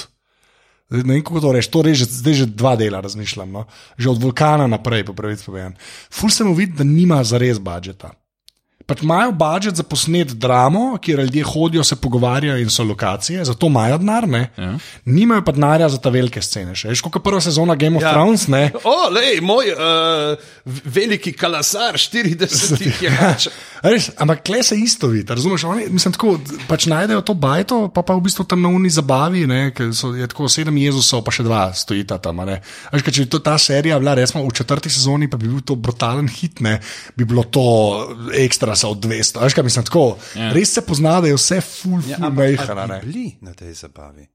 S3: Zdaj Ne vem, kako to reči, to res, že- zdaj že dva dela razmišljam, no? že od vulkana naprej, po pravici povedano. Ful se mu vidi, da nima zares budžeta. Pač imajo budžet za posnet dramo, kjer ljudje hodijo, se pogovarjajo in so lokacije, zato imajo denar, ne. Ja. Nimajo pa denarja za ta velike scene. Še veš, kot prva sezona Game of ja.
S2: Ja.
S3: Thrones, ne.
S2: O, lej, moj uh, veliki kalasar, 40 je pač. več.
S3: A Ja, Res, ampak kle se isto vidi, razumeš? Oni, mislim, tako, d- pač najdejo to bajto, pa pa v bistvu tam na uni zabavi, ne, ker so je tako sedem Jezusov, pa še dva stojita tam. a ne. A Veš, ker če bi to, ta serija bila, resmo, v četrti sezoni, pa bi bil to brutalen hit, ne, bi bilo to ekstra sa od 200. A Veš, kaj mislim, tako. Yeah. Res se pozna, da je vse full,
S2: Ja,
S3: full yeah, mehana. ne.
S2: bili na tej zabavi.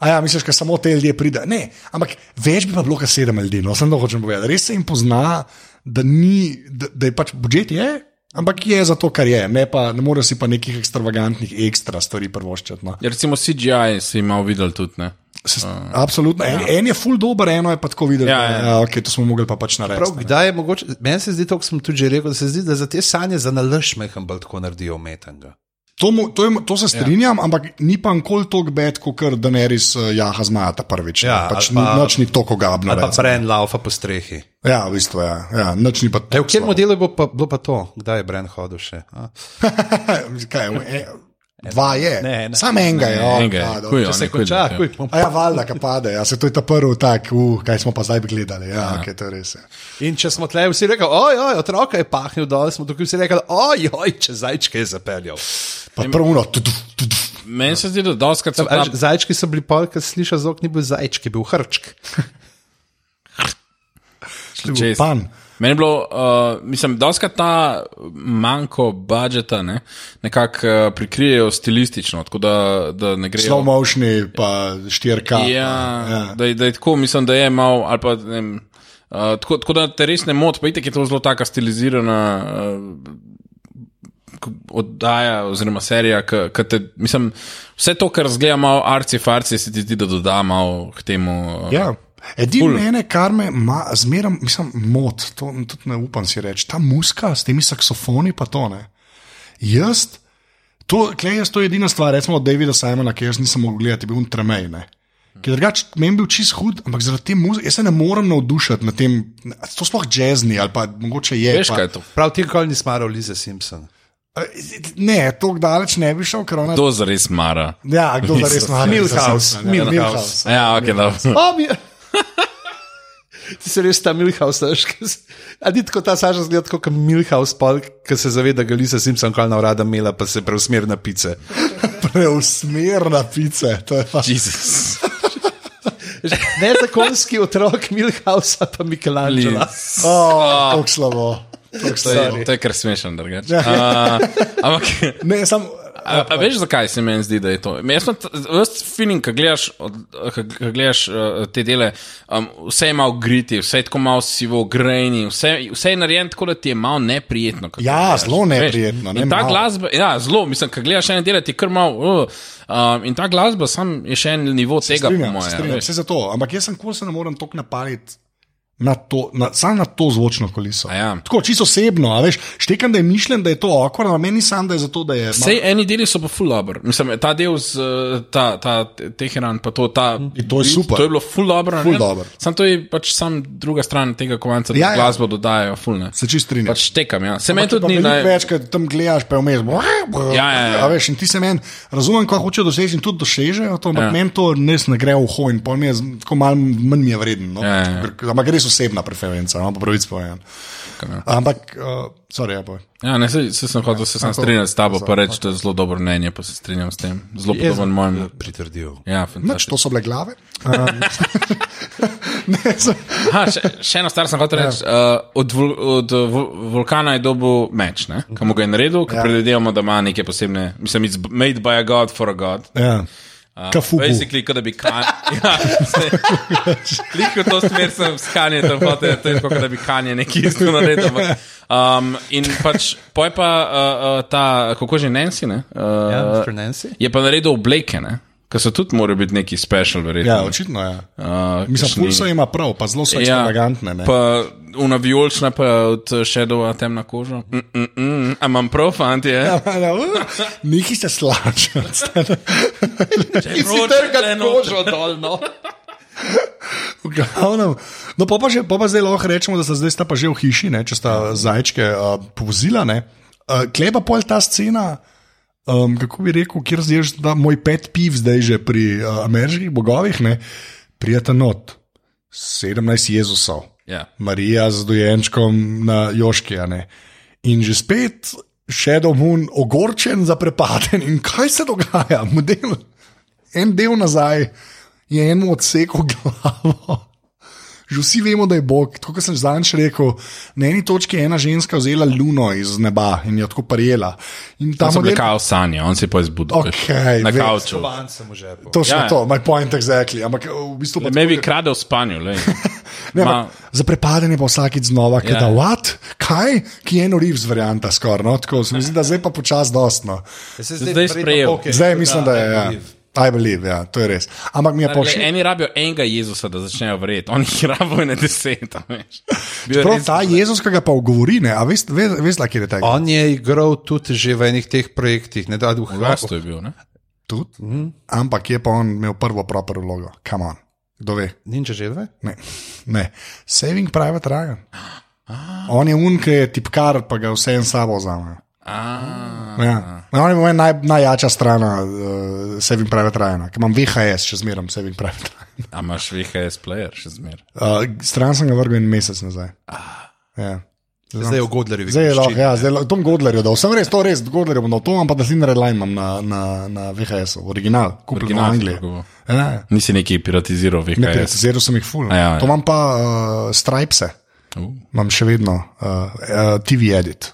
S3: A ja, misliš, da samo te ljudje pridejo. Ne, ampak več bi pa bilo, kar sedem ljudi, no, sem to hočem povedati. Res se jim pozna, da, ni, da, da je pač budžet je, ampak je za to, kar je. Ne, pa, ne morejo si pa nekih ekstravagantnih ekstra stvari prvoščati. No.
S1: Ja, recimo CGI si imel videl tudi. Ne?
S3: Se,
S2: Ah,
S3: absolutno. En,
S2: ja.
S3: en je full dober, eno je pa tako videl.
S1: Ja,
S3: da,
S1: ja.
S3: ja okay, to smo mogli pa pač
S2: Prav,
S3: narediti.
S2: kdaj je mogoče, meni se zdi, to sem tudi že rekel, da se zdi, da za te sanje za nalaž meham bolj tako naredijo umetnega.
S3: To, mu, to, je, mu- to se strinjam, ja. ampak ni pa nikoli tako bed, kot kar Daenerys eh, jaha zmaja ta prvič.
S2: Ja,
S3: pač
S2: ali pa-
S3: ni- nič ni tako gabno.
S2: Ali pa Bren laufa po strehi.
S3: Ja, v bistvu, ja, ja nič ni pa
S2: E,
S3: tako.
S2: v katerem delu je bilo pa, bilo pa to, kdaj je Bren hodil še? A?
S3: Kaj, e, dva je,
S2: Ne, ne.
S3: samo enega je. o,
S1: Enega je,
S3: a, dobro.
S1: kuj,
S2: Če
S1: oni,
S2: se
S1: kuj,
S2: konča,
S1: ja.
S2: kuj, bom
S3: A ja, valjda, ki pade, ja, se to je ta prvi tak, uh, kaj smo pa zdaj gledali. Ja, ja. Okay, to je res. Ja.
S2: In če smo tleh vsi rekli, ojoj, otroka je pahnil dol, smo tukaj vsi rekli, ojoj, če zajčke je zapeljal.
S3: Pa prvno, tudi, tudi.
S1: Meni se zdi, da doskrat so
S2: A
S1: tam.
S2: veš, Zajčki so bili pol, ker slišiš zvok, ni bil zajčki, bil hrčk.
S1: Čez.
S3: Pan.
S1: Meni je bilo, uh, mislim, da je ta manjko budžeta ne, nekako uh, prikrijejo stilistično, tako da, da ne gre.
S3: Slow motioni, pa štirka.
S1: Ja,
S3: ja.
S1: ja. Da, je- da je tako, mislim, da je malo. ali Pa, ne, vem, uh, tako, tako da te res ne moti, pa itek je to zelo taka stilizirana. Uh, k- Oddaja, oziroma serija, ki te, mislim, vse to, kar zgleda malo arci, farci, se ti zdi, da doda malo k temu. uh,
S3: Ja. Edino mene, kar me ma, zmeram, mislim, mod, to tudi ne upam si reči, ta muska s temi saksofoni, pa to ne. Jaz, to, klej, jaz to je edina stvar, recimo od Davida Simona, ki jaz nisem mogel gledati, je bil un tremej. Ne. Ker drugače, meni je bil čist hud, ampak zaradi te muzike, jaz se ne morem navdušiti nad tem, a to sploh jazzni ali pa mogoče je.
S1: Veš,
S3: pa,
S1: kaj je to?
S2: Prav ti nikoli nisi maral Lize Simpson.
S3: Eh, Ne, tako daleč ne bi šel, ker ona.
S1: To zares mara.
S3: Ja, kdo da res ima
S2: Milhouse, Milhouse.
S3: Milhouse.
S1: Ja, ok, dobro.
S2: Oh, mi... Ti si res ta Milhouse, veš, ki se- a ni tako ta saža zgleda tako kot Milhouse, pol, ki se zaveda, da ga Liza Simpson kol navrada imela, pa se preusmeri na pice.
S3: Preusmerna pice, to je pa
S1: Jezus.
S2: Veš, Nezakonski otrok Milhouse pa Michelangelo.
S3: Oh, tako slabo. Tako
S1: To je-
S3: slabo. Ja.
S1: To je kar smešno, drugače. Uh, ampak
S3: Ne, sam,
S1: A, a veš, zakaj se meni zdi, da je to? Jaz sem vse filin, ki gledaš, od- ko- ko gledaš eh, te dele, um, vse je malo griti, vse je tako malo sivo, grejni, vse, vse je narejeno tako, da ti je malo neprijetno. ko
S3: Ja,
S1: gledaš,
S3: zelo
S1: veš.
S3: neprijetno, ne
S1: In ta
S3: malo.
S1: glasba, ja, zelo, mislim, ko gledaš ene dele, ti je kar malo. Uh, um, in ta glasba sam je še en nivo tega, po
S3: Strinjam,
S1: mojem.
S3: strinjam,
S1: veš.
S3: vse za to. Ampak jaz sem kul, se ne morem tako napaliti. Na to, na, sam na to zvočno koliso.
S1: A ja.
S3: Tako čisto osebno, a veš, štekam, da je mišljen, da je to okor, a meni sam, da je zato, da je.
S1: Sej eni deli so pa full dobro. Mislim, ta del z eh, ta, ta Teheran, pa to, ta,
S3: In to Hm. je super.
S1: To je bilo full dobro.
S3: Ful
S1: ne?
S3: dobro.
S1: Sam to je pač sam druga stran tega kovanca, da
S3: Ja,
S1: ja,
S3: ja.
S1: glasbo dodajajo full ne.
S3: Se čist strinjam.
S1: Pač tekam, ja. Se meni
S3: Ampak je pa
S1: tudi ni
S3: veliko
S1: naj.
S3: več, ker tam gledaš, pa je vmes.
S1: Ja, ja, ja.
S3: A Veš, in ti se meni, razumem, kaj hočejo doseči, in tudi dosežejo to, ampak ja.
S1: Ja.
S3: meni to res ne gre v hojen, pol mi je z- tako malo manj mi je vreden. No?
S1: Ja, ja, ja.
S3: Ker- Ampak res osebna preferenca, no, po pravici povem. Ampak, uh, sorry, ja, povej.
S1: Ja, ne, se, se sem hotel se sam strinjati s tabo, pa reči, da je zelo dobro mnenje, pa se strinjam s tem. Zelo podoben mojem.
S2: Pritrdil.
S1: Ja,
S3: Nič,
S1: fantastično.
S3: to so bile glave. Um, ne, so,
S1: Aha, še, še eno stvar sem
S3: Ja.
S1: hotel reči. Uh, od vul, od uh, vul, vulkana je dobil meč, ne? Kam mu ga je naredil, ker ja.
S3: Ja.
S1: predvidevamo, da ima neke posebne. Mislim, it's made by a god for a god.
S3: ja. Kafubu.
S1: Basically, kot da bi kanjal. Ja, Liko to smer sem skanjal, tam hotel, to je kot da bi kanjal nekaj isto naredil. ampak, Um, in pač, poj pa uh, uh, ta, kako že Nancy, ne? Uh,
S2: Ja, Mr. Nancy?
S1: Je pa naredil obleke, ne? Ker so tudi morali biti neki special,
S3: Ja,
S1: verjetno.
S3: očitno je. Ja.
S1: Uh,
S3: Mislim,
S1: kakšni-
S3: pulso ima prav, pa zelo so ekstravagantne. ne.
S1: Ja. Pa una vijolična, pa od Shadowa temna koža. Mm, mm, mm. A imam prav, fanti, je? Ja,
S3: Neki uh, se slačijo. Ti
S1: dolno.
S3: V glavnem. No, pa, pa, že, pa, pa zdaj lahko rečemo, da sta zdaj sta pa že v hiši, ne, če sta zajčke uh, povozila. ne. Uh, Kleba pol ta scena. Um, kako bi rekel, kjer zdaj že ta moj pet piv, zdaj že pri uh, ameriških bogovih, ne, prijeta not, 17 Jezusov,
S1: Ja.
S3: Marija z dojenčkom na Joški. a ne. In že spet Shadow Moon ogorčen, zaprepaden. In kaj se dogaja, model? En del nazaj je enemu odsekal glavo. Že vsi vemo, da je Bog. Tako kot sem zadnjič rekel, na eni točki je ena ženska vzela luno iz neba in jo tako prijela. In
S1: Tam
S3: tam
S1: so bile kao sanje, on se je pa izbudil. veš,
S3: Okej,
S1: na
S3: vem.
S1: kauču.
S2: Banca mu žepu.
S3: Točno
S1: Ja,
S3: ja.
S1: ja.
S3: to, moj point exactly. Ampak v bistvu pa
S1: Ne bi kradel v spanju, le.
S3: Ne,
S1: Ma-
S3: ma... Za prepadanje pa vsakič znova, kaj
S1: Ja.
S3: da, what? Kaj? Ki je eno rivs varianta skoraj, no, tako se mi zdi, da zdaj pa počasi dostno.
S1: Zdaj sprejel.
S3: Zdaj mislim, da je. Ja. I believe, ja, to je res. Ampak mi je
S1: Pošli...
S3: pošilj.
S1: Eni rabijo enega Jezusa, da začnejo verjeti, oni jih rabijo na deset. a veš. Bil je
S3: Prav
S1: res-
S3: ta Jezus, ki ga pa ogovori, ne, a veste, ve, ve, ve, kje je ta
S2: On je igral tudi že v enih teh projektih, ne da bi
S1: Vlasto je bil, ne?
S3: tudi. Ampak je pa on imel prvo proper vlogo, kam on, kdo ve.
S2: Ninja želve?
S3: Ne. ne. Saving private Ryan. On je un, ki je tipkar, pa ga vse en sabo vzame.
S1: A,
S3: Ja. No, on je moja naj, najjača stran, uh, Saving private Ryan, ki imam VHS, še zmeraj Saving private Ryan.
S1: a imaš VHS player še zmeraj.
S3: Uh, stran sem ga vrgel en mesec nazaj. Ja.
S2: Zdaj je ogodljiv.
S3: Zdaj je lahko, ja, zdaj lahko, Tom Godler je dal, sem res, to res, Godler je dal, to imam pa da Thin Red Line imam na, na, na VHS, original, kupljen v
S1: Original si
S3: Angliji.
S1: kupil.
S3: Ja, ja.
S1: Nisi neki piratiziral
S3: Ne,
S1: VHS.
S3: preciziral sem jih full.
S1: A ja,
S3: Ja,
S1: ja.
S3: to imam pa uh, Stripese.
S1: Uh.
S3: imam še vedno uh, uh, TV edit.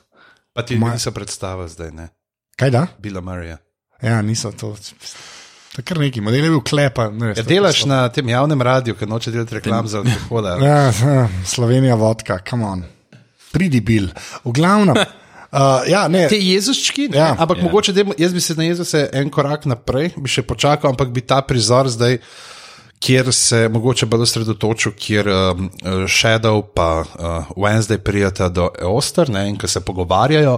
S2: Pa ti niso predstava zdaj, ne?
S3: Kaj da?
S2: Bila Marija.
S3: Ja, niso to. To je kar neki, model je bil klepa. Ne,
S2: Ja, delaš na tem javnem radiju, ker noče delati reklam za alkohol. ali-
S3: Ja, ja, Slovenija vodka, come on. Pridi bil. V glavnem. Uh, ja, ne.
S2: Te jezusčki, ne?
S3: Ja.
S2: ampak
S1: Ja.
S2: mogoče, dajmo- jaz bi se na jezuse en korak naprej, bi še počakal, ampak bi ta prizor zdaj, kjer se mogoče bolj osredotočil, kjer um, eh, Shadow pa uh, Wednesday prijeta do Eoster ne? in ko se pogovarjajo.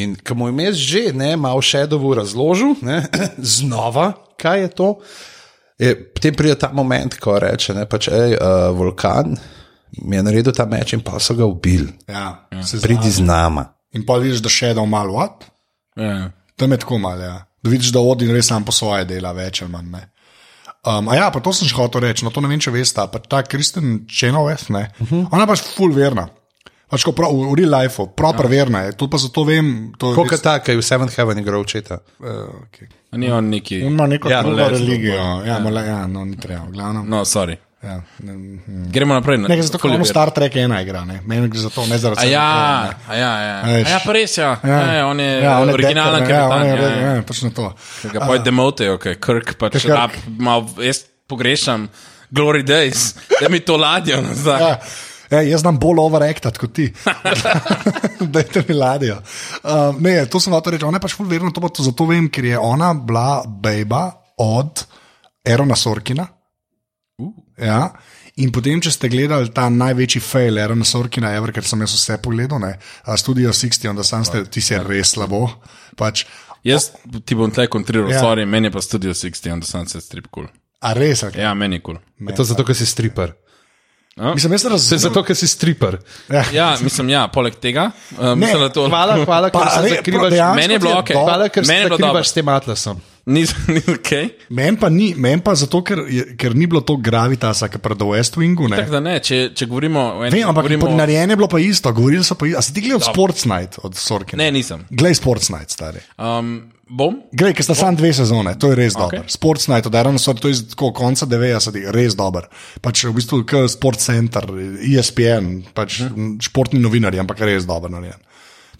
S2: In ko mu je mes že, ne, malo Shadowu razložil, ne, znova, kaj je to. Je, potem pride ta moment, ko reče, ne, pač, ej, uh, vulkan mi je naredil ta meč in pa so ga ubili.
S3: Ja, se
S2: Pridi
S3: zna.
S2: z nama.
S3: In pa vidiš, da še da malo what?
S1: Ja.
S3: Tam je tako malo. Ja. Da vidiš, da Odin res sam po svoje dela, več ali manj. ne. Um, a ja, pa to sem še hotel reči, no to ne vem, če veste, a pa ta Kristen Čenovec, uh -huh. ona pač full verna. Pač ko prav, v v real lifeu, proper ja. verna je, to pa zato vem. To je
S2: Kot
S3: res-
S2: ta, ki je v Seven Heaven igral očeta.
S3: eh, okay.
S1: A Ni on neki.
S3: On ima neko ja, drugo
S1: malejsko
S3: religijo, ja, ja. Male, ja, no ni treba, glavno.
S1: No, sorry.
S3: Ja, ne, mm.
S1: Gremo naprej.
S3: Nekaj zato, ker imamo
S1: Oliver.
S3: Star Trek ena igra, ne, meni gre za to, ne zaradi
S1: A
S3: Star
S1: ja,
S3: Treka, ne.
S1: a ja, ja.
S3: Veš.
S1: A ja, pa res, ja. ja. ja on je
S3: on je
S1: originalen
S3: Decker, ne,
S1: kapitan.
S3: Ja, on
S1: Ja,
S3: je,
S1: ja.
S3: ja, ja, točno to.
S1: Ga pojdi demotejo, okay. Kirk pač
S3: Kirk.
S1: rab, mal, jaz pogrešam Glory Days, da mi to ladjo nazaj. Ja.
S3: Ja. Ja, jaz znam bolj overactat kot ti. Dajte mi ladjo. Um, ne, to sem hotel reči. Ona je pač fulverno, to pa to zato vem, ker je ona bila beba od Erona Sorkina.
S1: Uh.
S3: Ja. In potem, če ste gledali ta največji fail, Erona Sorkina, ever, ker sem jaz vse pogledal, ne, A Studio 60, onda sam ste, ti
S1: ja.
S3: si res slabo. Pač,
S1: Jaz ti bom tle kontriral,
S3: Ja.
S1: ja. sorry, meni je pa Studio 60, onda sem se strip kul. Cool.
S3: a res, okay.
S1: Ja, meni kul. Cool.
S2: Je to zato, ker si striper.
S3: Mislim, jaz
S2: To je
S3: razumem.
S2: zato, ker si striper.
S1: Ja, mislim, ja, poleg tega. Uh, mislim, da to
S2: Hvala, hvala ker
S3: Pa,
S2: se
S3: re-
S2: zakrivaš.
S3: dejansko
S1: pač, Meni je bilo
S3: ti
S1: okej.
S3: dobro.
S2: Hvala, ker se
S1: Meni je bilo dobro.
S2: zakrivaš s tem atlasom.
S1: nisem ni ok.
S3: Meni pa ni, meni pa zato, ker, je- ker ni bilo to gravitasa, ki pred West Wingu. Ne.
S1: Tako da ne, če, če govorimo o enem,
S3: Vem, ampak
S1: govorimo...
S3: govorimo... narejeno je bilo pa isto, govorili so pa isto. A si ti gledal Sports Night od Sorkin?
S1: Ne, nisem.
S3: Glej Sports Night, stari.
S1: Um, bom?
S3: Glej, ker sta samo dve sezone, to je res okay. dobro. Sports Night od Aaron Sorkin, to je tako konca 90-ih, res dobro. Pač v bistvu kot Sports Center, E ESPN, pač
S1: Mhm.
S3: mm. športni novinarji, ampak res dobro narejen.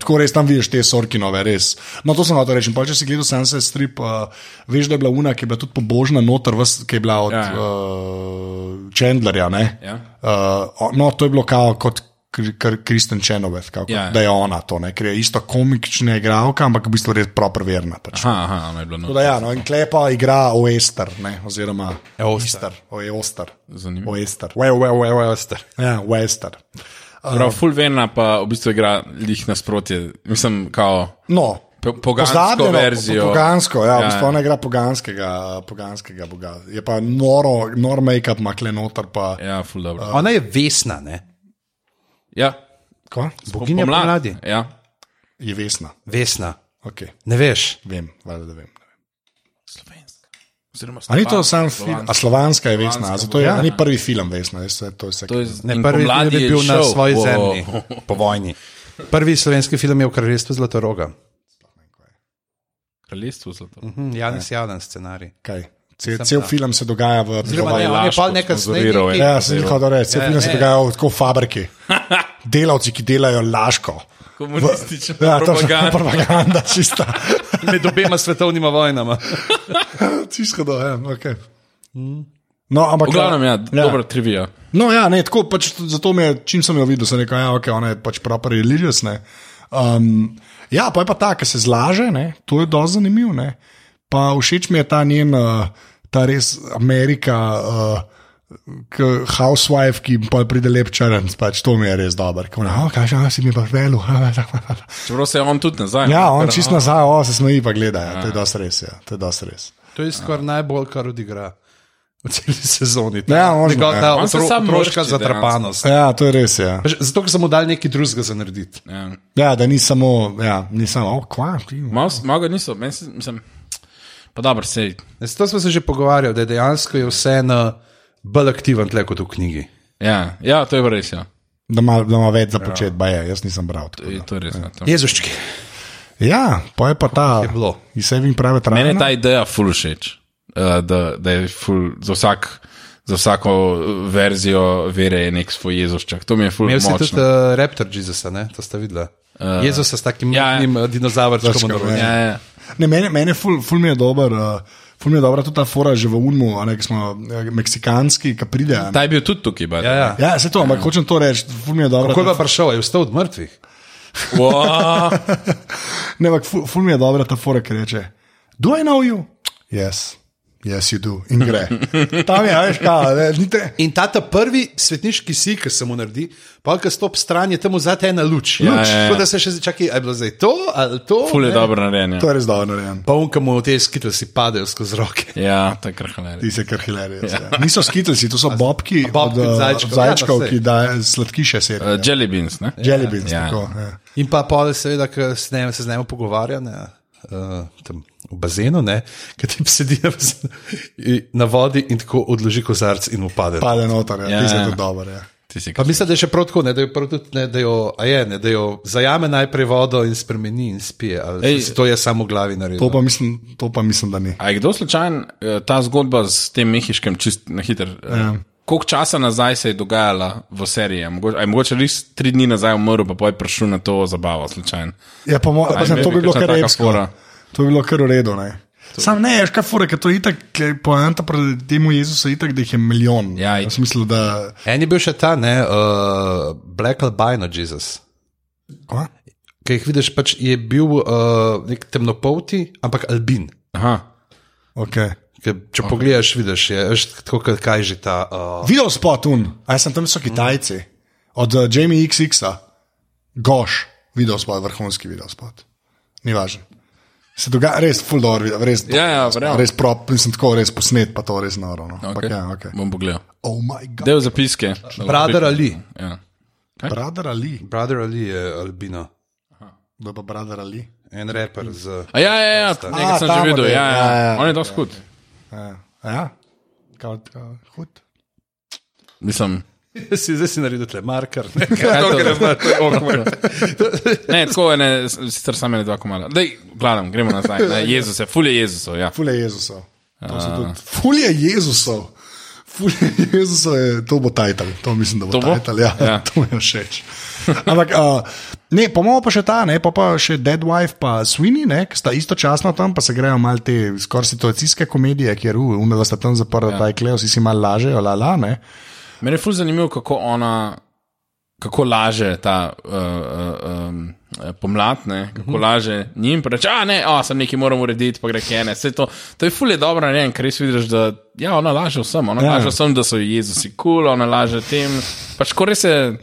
S3: Tako res tam vidiš te sorkinove, res. No, to sem hotel reči. In pol, Če si gledal Sunset Strip, uh, veš, da je bila Una, ki je bila tudi pobožna noter, ves, ki je bila od
S1: Ja,
S3: ja,
S1: ja.
S3: ja. Uh, Chandlerja. Ne?
S1: Ja.
S3: Uh, no, to je bilo kao kot Kr- Kr- Kristen Čenovec, kako,
S1: Ja,
S3: ja,
S1: ja.
S3: da je ona to, ne? ker je isto komična igralka, ampak v bistvu res proper verna. Pač.
S1: Aha, aha, ono je bilo
S3: Tako
S1: no.
S3: Da, ja, no, in klepa igra Oester, ne, oziroma
S2: Eoster.
S3: Oester.
S1: E, Zanimivo.
S3: Oester.
S2: Well, well, well, well, ste.
S3: Ja, Oester.
S1: Prav, full verna pa v bistvu igra lih nasprotje. Mislim, kao.
S3: No,
S1: Po- pogansko
S3: pozabljeno,
S1: verzijo.
S3: Pogansko,
S1: Ja,
S3: ja, v bistvu
S1: ja.
S3: ona igra poganskega, poganskega boga. Je pa noro, nor make-up, makle noter pa.
S1: Ja, full dobro.
S2: Ona je vesna, ne?
S1: Ja,
S3: Ko?
S2: Boginja
S1: pomlad.
S2: pomladi.
S1: Ja.
S3: Je vesna.
S2: Vesna.
S3: Okay.
S2: Ne veš.
S3: Vem, valjda, da vem.
S1: Slovenska. Oziroma,
S3: A ni
S1: Slovan-
S3: to sam film?
S1: Slovanska.
S3: A slovanska je vesna, a zato je
S1: ja.
S3: ja. ni prvi film vesna. Jaz, se- to je vse.
S1: To je
S2: Ne,
S1: in
S2: prvi
S1: pomladi
S2: film je
S1: je
S2: bil na
S1: šel.
S2: svoji
S1: Wow.
S2: zemlji, po vojni. Prvi slovenski film je v kraljestvu Zlatoroga.
S1: Kraljestvo zlato.
S2: Hm, Janis Javljan scenarij.
S3: Kaj? Cel, cel film se dogaja v
S2: Oziroma, ne, on je pol nekaj
S1: sponzoriral,
S2: snedil.
S3: Ja, se nehal da reče, cel film
S1: ja.
S3: se
S2: ne.
S3: dogaja v tako fabriki. Delavci, ki delajo laško.
S1: Komunistična
S3: Ja, to je
S1: propaganda.
S3: propaganda, čista.
S2: Med obema svetovnima vojnama.
S3: Čisto da, ja, ok. No, ampak,
S1: Mm. V glavnem, ja, ja. dobra trivija.
S3: No, ja, ne, tako pač t- zato mi je, čim sem jo videl, sem rekel, ja, ok, ona je pač proper religious. ne. Um, ja, pa je pa ta, ki se zlaže, ne, to je dosti zanimiv. Ne. Pa všeč mi je ta njen, uh, ta res Amerika. Uh, k- Housewife, ki jim pol pride lep črn, pač to mi je res dobro. Ko ona, "A, Kaj že, si mi je pa velu.
S1: Čeprav se je on tudi nazaj.
S3: Ja, on čist nazaj, o, se smeji pa gleda, ja. to je dosti res, ja, to je dosti res.
S2: To je skoraj najbolj, kar odigra v celi sezoni. Ta,
S3: Ja, možno,
S2: njegova ta
S1: On se
S2: otro,
S1: sam
S2: otroška
S1: mršči
S2: zatrapanost.
S3: Ja, to je res, ja.
S2: Veš, Zato, ker sem mu dal nekaj drugega za narediti.
S1: Ja.
S3: Ja, da ni samo, ja, ni samo, oh, kva, ti.
S1: Malo mal ga niso, meni se, mislim. Pa dobro, sej.
S2: Ne, To smo se že pogovarjali, da je dejansko je vse na bolj aktiven tle kot v knjigi.
S1: Ja, ja, to je pa res. Ja.
S3: Da ima, da ima več za početi, ja. baje, jaz nisem bral. tako da.
S1: Je, to je res. Ja. To.
S2: Jezuščki.
S3: Ja, pa je pa ta.
S2: Je bilo.
S3: In se jim pravi,
S1: Mene je
S3: trajno.
S1: ta ideja ful všeč, eh, da, da je ful za vsak. Za vsako eh, verzijo vere je nek svoj jezušček. To mi je
S2: Imel si
S1: fulano.
S2: tudi uh, Raptor Jezusa, ne? to ste videli. Uh, Jezusa s takim
S1: ja, ja.
S2: ja, ja. dinozavrčkom.
S3: Zaskrbel,
S2: narobe.
S3: ja.
S1: Ja, ja.
S3: Ne, mene, mene ful, ful mi je dober. Uh, Ful mi je dobra tudi ta fora že v Unmu, a ne, ki smo eh, meksikanski, ki pride. a ne.
S1: Ta je bil tudi tukaj. by the
S2: Ja,
S1: way.
S2: ja.
S3: Ja, se to, ampak hočem to reči, ful mi je dobro.
S2: Kako je pa prišel, je vstal od mrtvih?
S1: Wow.
S3: Ne, ampak ful, ful mi je dobra ta fora, ki reče: Do I know you? Yes, yes, you do. In gre. Tam je, a veš, kaj, ne, ni te.
S2: In ta, ta prvi svetniški si, ki se mu naredi, pa ki stop stran, je tam zadaj ena luč.
S1: Ja,
S2: luč.
S1: ja, ja.
S2: Tako da se še čakaj, ali je bilo zdaj to ali to.
S1: Ful je
S2: ne?
S1: dobro narejen.
S3: To
S1: Ja,
S3: je res dobro narejen.
S2: Pa unka mu te skitle si padajo skozi roke.
S1: ja to je krhalen.
S3: Ti se kar hilarijo. Ja. Niso skitlci, to so bobki,
S2: bobki
S3: od, eh,
S2: zajčkov.
S3: od zajčkov,
S2: Ja, pa sej.
S3: ki dajo sladkiše. Uh,
S1: Uh, jelly beans, ne?
S3: Jelly beans,
S1: Ja.
S3: ja. tako. Ja.
S2: In pa pol, seveda, ki se, ne, se z njim pogovarja ne, uh, tam v bazenu, ne, ki ti sedi na, bazenu, in- na vodi in tako odloži kozarc in upade. Pa,
S3: Pade noter, ja.
S1: Ja,
S3: ja, ti se
S1: ja.
S3: to dobro. Ja.
S1: Ti si
S2: pa mislim, da je še prav tako, ne, da jo, prav tudi, ne, da jo, a je, ne, da jo zajame najprej vodo in spremeni in spije. Ali,
S1: Ej.
S2: Ej, to je samo v glavi
S3: To,
S2: naredil.
S3: pa mislim, to pa mislim, da ni.
S1: A je kdo slučajen eh, ta zgodba s tem mehiškim, čist na hiter? Ja. koliko časa nazaj se je dogajala v seriji? A Mogoče, a je mogoče res tri dni nazaj umrl, pa je prišel na to zabavo, slučajno.
S3: Ja, pa mo, pa,
S1: imel
S3: sem, to
S1: bi
S3: bi bilo
S1: kakšna
S3: kar
S1: taka
S3: epsko.
S1: fora.
S3: To bi bilo kar v redu. Ne? Sam ne, veš kaj fore, ker to je itak, ker poanta pred tem Jezusu je itak, da jih je milijon.
S1: Ja,
S3: v
S1: itak.
S3: smislu, da.
S2: En je bil še ta, ne, uh, Black Albino Jesus.
S3: Kva?
S2: Kaj jih vidiš, pač je bil uh, nek temnopolti, ampak albin.
S1: Aha.
S3: Okay.
S2: Ker, če okay. pogledaš, vidiš, je veš, tako kot kaj že ta. Uh,
S3: Videl spot un, a jaz sem tam so
S1: Mm.
S3: Kitajci, od uh, Jamie XX-a, goš, videl spot, vrhunski videl spot. Ni važno. Se dogaja res, full door, res.
S1: Ja, ja, verjamem.
S3: res prop, nisem tako res posnet, pa to res noro. No. Ampak
S1: Okay.
S3: Ja, okay.
S1: Bom pogledal.
S3: Oh, moj bog.
S1: Del zapiske.
S2: brother Ali.
S1: Ja.
S3: Brother Ali,
S2: Brother Ali je albino.
S3: da pa brother Ali.
S2: En reper z.
S1: A ja, ja, ja, nekaj
S3: A,
S1: sem
S3: ta
S1: že videl.
S3: model,
S1: Ja, ja.
S3: ja, ja.
S1: On je dosti hud.
S3: Ja, ja. Kao, kao, hud.
S1: Mislim.
S2: si zdaj si naredil tle marker.
S1: Kaj to gre za Ne, tako je, ne, s- sicer samo ene dva komada. Dej, gledam, gremo nazaj. Ne, Jezus je, ful je Jezusov, ja.
S3: Fulje Jezusov. To so tudi- Fulje Jezusov. Fulje Jezusov je, to bo tajtal, to mislim, da bo,
S1: To bo?
S3: tajtal. Ja,
S1: Ja.
S3: ja. To mi je všeč. Ampak, uh, ne, pomo pa še ta, ne, pa, pa še Dead Wife, pa Sweeney, ne, ki sta istočasno tam, pa se grejo malo te skoraj situacijske komedije, kjer umeva sta tam zaprta, ja. taj klejo, vsi si malo lažejo, la la, ne.
S1: Mene je ful zanimivo, kako ona, kako laže ta uh, uh, um, eh, pomlad, ne, kako laže njim, pa reče, a ne, a sem nekaj moram urediti, pa gre kene. Vse to, to je ful je dobro narejen, ker res vidiš, da ja, ona laže vsem, ona
S3: Ja.
S1: ja. laže vsem, da so ji Jezusi kul, cool, ona laže tem, pač ko res je,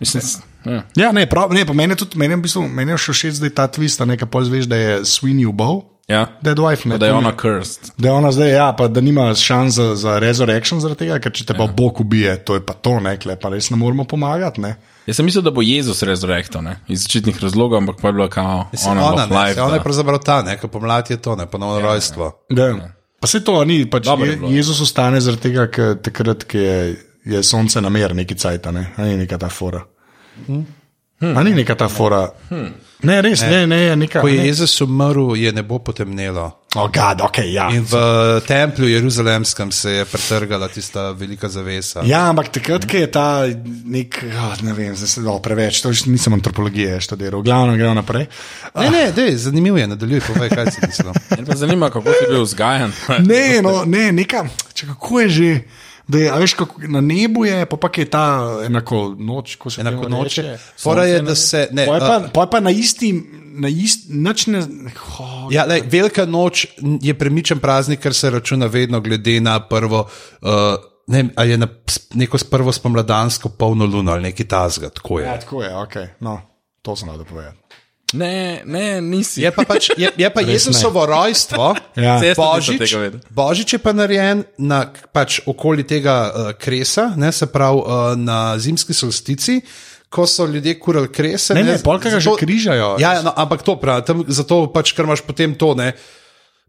S1: mislim, s- ja.
S3: Ja, ne, prav, ne, pa meni je tudi, meni je v bistvu, meni je še všeč, da je ta twist, a ne, kaj pol zveš, da je Sweeney ubov,
S1: ja.
S3: Dead Wife, ne.
S1: Da je
S3: to mi-
S1: ona cursed.
S3: Da je ona zdaj, ja, pa da nima šans za, za resurrection zaradi tega, ker če te pa ja. Bog ubije, to je pa to, ne, kle, pa res ne moremo pomagati. Ne.
S1: Jaz sem mislil, da bo Jezus rezurektal, ne? iz začetnih razlogov, ampak pa je bilo kao,
S2: Ona,
S1: ona,
S2: ona,
S1: ona,
S2: ne,
S1: life,
S2: saj ona je
S1: ona
S2: pravzaprav ta, ne, ki pomlad je to, ne, ponovno ja, rojstvo.
S3: Da. Pa se to ni, pač
S1: Dobro je
S3: je,
S1: bilo.
S3: Jezus ostane zaradi tega, ker takrat, ko je, je sonce na mer, neki cajt, ne, a ni neka ta fora. Hmm. A ni neka ta fora. Hmm. Ne, res, ne, ne, ne je neka.
S2: Ko je
S3: ne.
S2: Jezus umrl, je nebo potemnelo.
S3: Oh, God, okay, ja.
S2: In v templju jeruzalemskem se je pretrgala tista velika zavesa.
S3: Ja, ampak takrat, ko je ta nek, oh, ne vem, zdaj se da preveč, to že nisem antropologije študiral, glavno gremo naprej.
S2: Ne, ne, dej, zanimivo je, nadaljuj, povej, kaj si mislil.
S1: Mene pa zanima, kako si bil vzgajan.
S3: Ne, no, ne, neka, če kako je že. Da je, a veš, kako, na nebu je, pa, pa je ta enako noč, ko se
S2: Enako
S3: temu
S2: noče.
S3: reče.
S2: Fora je, da se. Ne,
S3: Pol je
S2: a-
S3: pa, pol je pa na isti, na isti, nič ne. Oh,
S2: Ja, lej, velika noč je premičen praznik, ker se računa vedno glede na prvo. Uh, Ne, vem, ali je na s- neko s prvo spomladansko polno luno ali nekaj tasga, tako je.
S3: ja, tako je, okay, no, to sem rada povedati.
S1: Ne, ne, nisi.
S2: Je pa, pač, je, je pa Jezusovo rojstvo,
S3: Ja.
S1: Saj jaz tudi nisem
S2: Božič,
S1: tega vedel.
S2: Božič je pa narejen na, k- pač okoli tega uh, kresa, ne, se pravi uh, na zimski solstici, ko so ljudje kurali krese.
S3: Ne, ne, polka ga že
S2: zato-
S3: križajo.
S2: Ja, ja, no, ampak to pravi, tam, zato pač, ker imaš potem to, ne.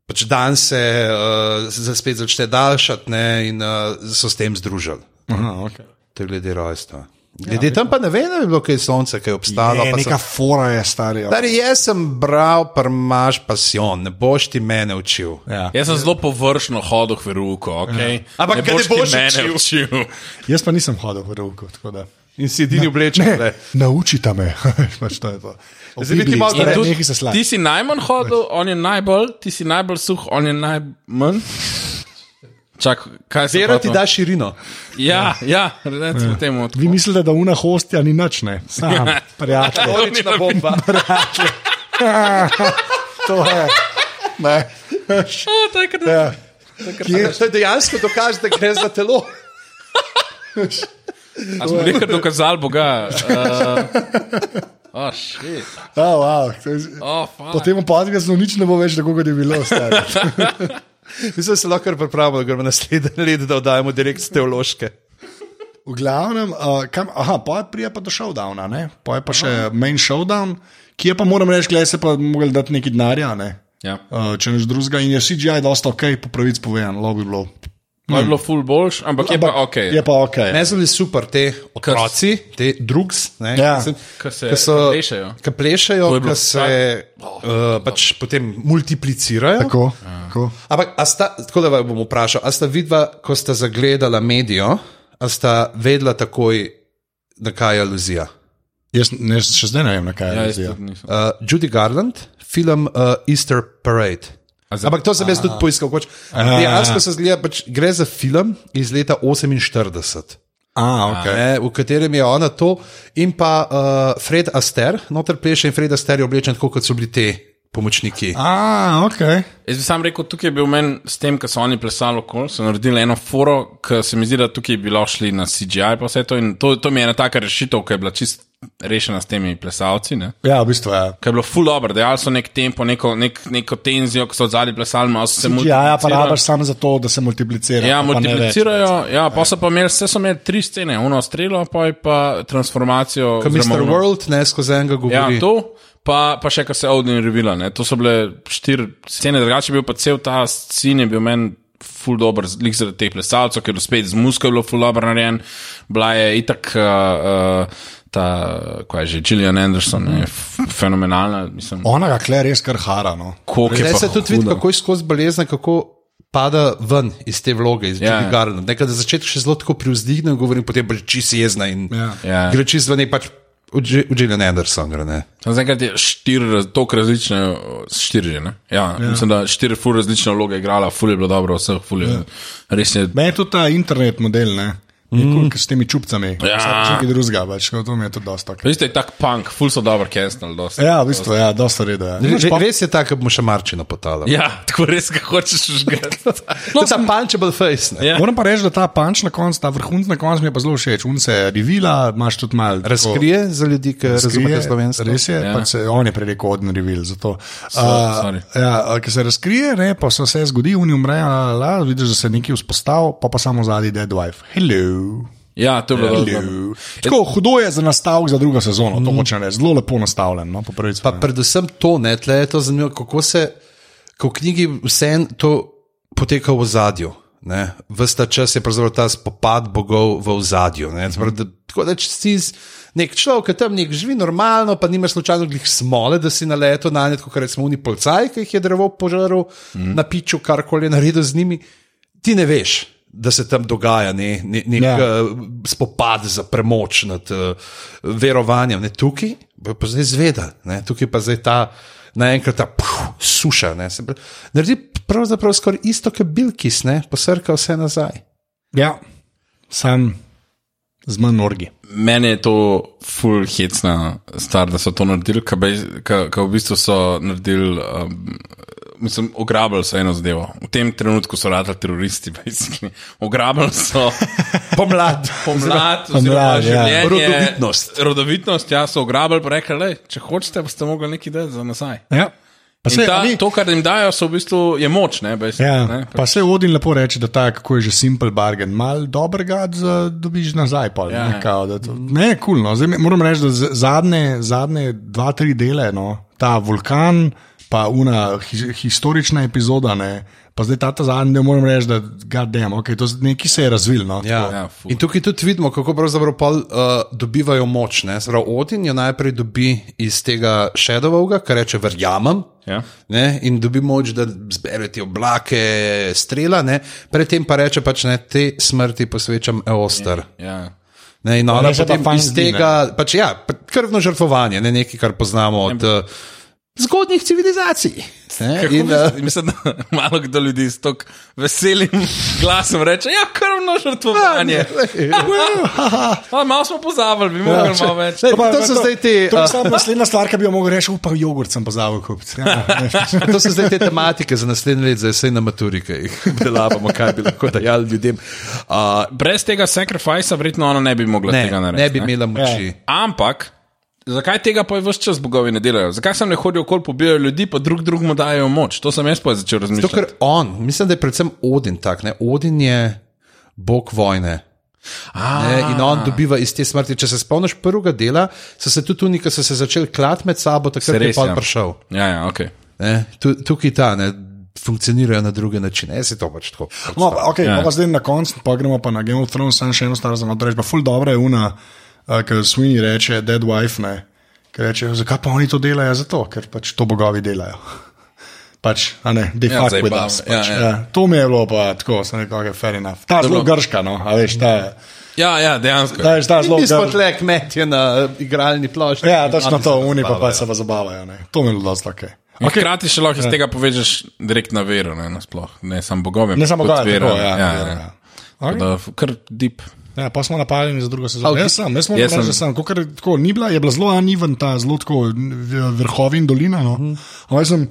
S2: Pač dan se uh, za- spet začne daljšati ne, in uh, so s tem združili.
S3: Aha, okay.
S2: To je glede rojstva. Glede ja, tam pa ne vem, da bi bilo kaj sonce, kaj je obstalo.
S3: Ne,
S2: pa
S3: E,
S2: so-
S3: neka fora je starija.
S2: Stari, jaz sem bral, prmaš pasion, ne boš ti mene učil.
S3: Ja.
S1: Jaz sem zelo površno hodil k veruku, okay?
S2: Ampak ga ne
S1: ti
S2: boš
S1: mene
S2: učil.
S1: učil.
S3: Jaz pa nisem hodil v roko, tako da.
S2: In si edini oblečen.
S3: Ne, naučite me, pač to je to. O
S2: Zdaj bi ti
S3: Bibliji,
S2: malo
S3: stare,
S2: rekel-
S3: nehaj se slati.
S1: ti si najmanj hodil, on je najbolj, ti si najbolj suh, on je najmanj. Čak, kaj se
S2: Vero ti da širino.
S1: Ja, ja, recimo temu.
S3: Vi mislite, da una hostja ni nič, ne? Sam, prijatelj.
S2: Odlična bomba.
S3: To je. Ne. Ja.
S2: Kje? To je dejansko dokaz, da gre za telo.
S1: A smo nekaj dokazali Boga. Uh, oh, shit.
S3: Oh, wow. to je z-
S1: Oh, fuck.
S3: Po tem podkastu nič ne bo več tako, kot je bilo. stari.
S2: Mislim, da se lahko kar pripravimo, da gremo naslednje leto, da oddajemo direkt z teološke.
S3: V glavnem, uh, kam, aha, pa prije pa do showdowna, ne? Pa je pa še aha. main showdown, ki je pa moram reči, glej se pa mogli dati neki denarja, ne?
S1: Ja.
S3: Uh, če neš drugega in je CGI dosta ok, po pravici povedano, lobi bilo.
S1: Malo je bilo full boljš, ampak je pa ok.
S3: Je pa ok.
S2: Meni so bili super te otroci, te drugs, ne,
S3: Ja.
S2: ki se-
S1: Ki se
S2: ki so-
S1: plešejo.
S2: Ki plešejo,
S1: To je bilo
S2: ki se uh, pač potem multiplicirajo.
S3: Tako, tako.
S2: Ampak, a sta, tako da vas bom vprašal, a sta vidva, ko sta zagledala medijo, ali sta vedela takoj, na kaj je aluzija?
S3: Jaz ne, še zdaj ne vem, na kaj je
S1: Ja, jaz
S3: vizija.
S1: tudi nisem.
S2: Uh, Judy Garland, film uh, Easter Parade. Ampak to sem jaz tudi poiskal. Koč.
S3: ja,
S2: Dejansko se zgleda, pač gre za film iz leta 48.
S3: A, ok.
S2: Ne, v katerem je ona to, in pa uh, Fred Aster, noter pleše in Fred Aster je oblečen tako, kot so bili ti pomočniki.
S3: A, ok.
S1: Jaz bi sam rekel, tukaj je bil meni s tem, ko so oni plesali okol, so naredili eno foro, ki se mi zdi, da tukaj bi lahko šli na CGI, pa vse to. In to, to mi je ena taka rešitev, ki je bila čist rešena s temi plesalci. Ne?
S3: Ja, v bistvu je.
S1: Ker je bilo full dobro, dejali so nek tempo, neko, nek, neko tenzijo, ki so zadnji plesali, malo so se mu.
S3: Ja, ja, pa rabaš samo zato, da se multiplicira.
S1: Ja,
S3: pa ne več.
S1: multiplicirajo, ja, pa so pa imeli, vse so imeli tri scene, uno strelo, pa je pa transformacijo.
S2: Kot
S1: oziroma
S2: Mr.
S1: ono-
S2: World, ne skozi enega
S1: Ja,
S2: govori.
S1: to, pa, pa še kar se Odin revila. Ne. To so bile štiri scene, drugače je bil pa cel ta scene, bil meni ful dobr, lik zaradi teh plesalcev, ker je bilo spet z musko je bilo ful dobro narejen, bila je itak. Uh, uh, Ta, kaj je že, Gillian Anderson je f- fenomenalna, mislim,
S3: Ona ga kle res kar hara. No.
S1: koliko je
S2: Zdaj
S1: pa
S2: se tudi vidi,
S1: huda.
S2: kako je skozi bolezen, kako pada ven iz te vloge, iz
S1: Ja, ja.
S2: Judy Garland. Nekaj na začetku še zelo tako privzdigne, govorim, potem pa čisi jezna in
S3: Ja.
S1: Ja.
S2: gre čist ven, in pač v Dž- v Gillian Anderson gre. Ne?
S1: Samo Zaenkrat je štiri, raz- toliko različne, o, štiri že. ne? Ja, ja. Mislim, da štiri ful različne vloge je igrala, ful je bilo dobro, vseh ful je. Ja. Res je.
S3: Meni je tudi ta internet model, ne. Je cool, ker s temi čupcami,
S1: Mm. Ja.
S3: ja. ki drugega, pač to mi je tudi dosta. Okay.
S1: Veste, je tak punk, ful so dobro cancel, dosti.
S3: Ja, v bistvu, ja, dosta reda. Ja.
S2: Re,
S3: Imaš pa-
S2: res je tako, da mu še marčina potala.
S1: Ja, tako res, kako hočeš žgati.
S2: No, ta punchable face. Ne?
S1: Ja.
S3: Moram pa reči, da ta panč na koncu, ta vrhunc na koncu mi je pa zelo všeč. Un se je revila, imaš tudi malo. tako-
S2: Razkrije za ljudi, ki razumejo slovensko.
S3: Res je,
S1: Ja.
S3: ja. pač se, on je prej rekel odn revil. So,
S1: sorry.
S3: ja, ki se razkrije, ne, pa se vse zgodi, oni umrejo, la, la, la, vidiš, da se nekaj vzpostavi, pa pa samo zadnji dead wife. Hello.
S1: Ja, to je bilo dobro.
S3: Hello. Tako, hudo je za nastavek za drugo sezono, to hočem reči, zelo lepo nastavljen. No, po prvi
S2: Mhm. Pa
S3: strani.
S2: predvsem to, ne, tle je to zanimivo, kako se, ko v knjigi vse to poteka v zadju. Vsta čas je pravzaprav ta spopad bogov v zadju. Tako da če si z- nek človek, ki tam nek živi normalno, pa nimaš slučajno glih smole, da si na leto na nje, kot recimo oni polcaj, ki jih je drevo požrl, mm. napičil karkoli je naredil z njimi, ti ne veš. Da se tam dogaja ne, ne, nek
S3: Ja.
S2: ja. spopad za premoč nad uh, verovanjem. Ne, tukaj bo pa zdaj zvedel, ne, tukaj pa zdaj ta naenkrat ta puh, suša. Ne, se pravi, naredi pravzaprav skoraj isto, kot Bilkis, ne, posrka vse nazaj.
S3: Ja, sam z manj orgi.
S1: Mene je to full hecna stvar, da so to naredili, ker v bistvu so naredili, um, mislim, ograbili so eno zadevo. V tem trenutku so radili teroristi, basically. Ograbili so.
S2: Pomlad,
S1: Pomlad,
S3: Pomlad, ja.
S1: ja.
S2: Rodovitnost.
S1: Rodovitnost, ja, so ugrabili, pa rekli, "Lej, če hočete, boste mogli nekaj dati za nazaj.
S3: Ja. Pa
S1: In
S3: se,
S1: Ta,
S3: ta, ni,
S1: to, kar jim dajo, so v bistvu je moč. Ne, bej,
S3: ja,
S1: ne, pač-
S3: pa se Odin lepo reče, da ta, kako je že simple bargain, mal dobrega za- dobiš nazaj. Pol,
S1: Ja,
S3: ja, ne,
S1: ja.
S3: kao, da to, ne, cool, no. Zdaj, mi- moram reči, da z- zadnje, zadnje dva, tri dele, no, ta vulkan, pa una hi, historična epizoda, ne, pa zdaj ta, ta zadnji del, moram reči, da gadem, okay, to z- nekaj se je razvil. No, tako.
S1: Ja,
S2: Ja.
S1: ful.
S2: In tukaj tudi vidimo, kako pravzaprav pol, uh, dobivajo moč. ne. Se pravi, Odin jo najprej dobi iz tega Shadowovega, kar reče: Verjamem.
S1: Ja.
S2: Ne, in dobi moč, da zbere ti oblake, strela, ne. predtem pa reče: pač ne, te smrti posvečam Eostar.
S1: ja.
S2: Ne, in ona
S3: Reče, da
S2: potem
S3: fajn
S2: iz
S3: zdi, ne.
S2: tega, pač ja, pa- krvno žrtvovanje, ne nekaj, kar poznamo od uh, zgodnjih civilizacij. Ne,
S1: Kako
S2: in,
S1: misliš-
S2: uh,
S1: Mislim, da malo kdo ljudi s tako veselim glasom reče: Ja, krvno
S2: Ja,
S1: žrtvovanje. Pa malo smo pozabili, bi mogli malo več.
S2: Lej, to so zdaj te,
S3: To
S2: uh,
S3: je samo naslednja stvar, ki bi jo mogel reči, upam, jogurt sem pozabil kupiti. Ja, ne.
S2: To so zdaj te tematike za naslednje leto, za vse na maturi, ki jih delavamo, kaj bi lahko dajali ljudem. Uh,
S1: Brez tega sacrifice, verjetno ona ne bi mogla
S2: ne,
S1: tega narediti.
S2: ne bi imela moči.
S1: Ampak. Zakaj tega pa je vse čas bogovi ne delajo? Zakaj sem ne hodil okoli, pobijajo ljudi, pa drug drugemu dajo moč? To sem jaz pa začel
S2: To,
S1: razmišljati.
S2: kar on, mislim, da je predvsem Odin tak. Ne? Odin je bog vojne. Ne, in on dobiva iz te smrti. Če se spomniš prvega dela, so se tudi oni, ki so se začeli klat med sabo, takrat je
S1: res,
S2: pa
S1: ja.
S2: prišel.
S1: Ja, ja, ok.
S2: Ne, tu, tukaj ta ne, funkcionirajo na druge načine. Jaz se to pač tako.
S3: No, pa, okay, ja. pa zdaj na koncu, pa gremo pa na Game of Thrones, samo še eno staro zelo reči. Pa ful dobro je una, uh, ker Sweeney reče, dead wife ne. Ker reče, zakaj pa oni to delajo? Zato, ker pač to bogovi delajo. pač, a ne, de
S1: Ja,
S3: facto
S1: zdaj
S3: with
S1: pa,
S3: us.
S1: ja,
S3: Pač, ja,
S1: ja.
S3: ja. To mi je bilo pa tako, sem rekel, okay, fair enough. Ta je zelo grška, no, a veš, ta je.
S1: Ja, ja, dejansko.
S3: Ta je ta je zelo
S4: Mi smo
S3: grška.
S4: tlek metje na eh, igralni plošči.
S3: Ja, točno
S4: Oni
S3: to,
S4: se
S3: oni pa
S4: zabavajo.
S3: pač se pa zabavajo. Ne. To mi je bilo dosti tako.
S1: Okay. Hkrati še
S2: Ja.
S1: lahko iz tega povežeš direkt na vero, ne, nasploh. ne samo bogove.
S3: Ne samo
S1: kot
S3: gledati,
S1: vero,
S3: tako, ja.
S1: ja,
S3: ja,
S1: ja.
S3: ja.
S1: Tako Da, kar dip.
S3: Ja, pa smo napadeni za drugo sezono.
S4: A,
S3: Jaz sem, jaz moram
S1: Jaz
S3: reči, da
S1: sem-
S3: sem, kakor tako ni bila, je bila zelo aniven ta, zelo tako v- vrhovi in dolina. No.
S1: Mhm.
S3: Mm. Ampak jaz sem,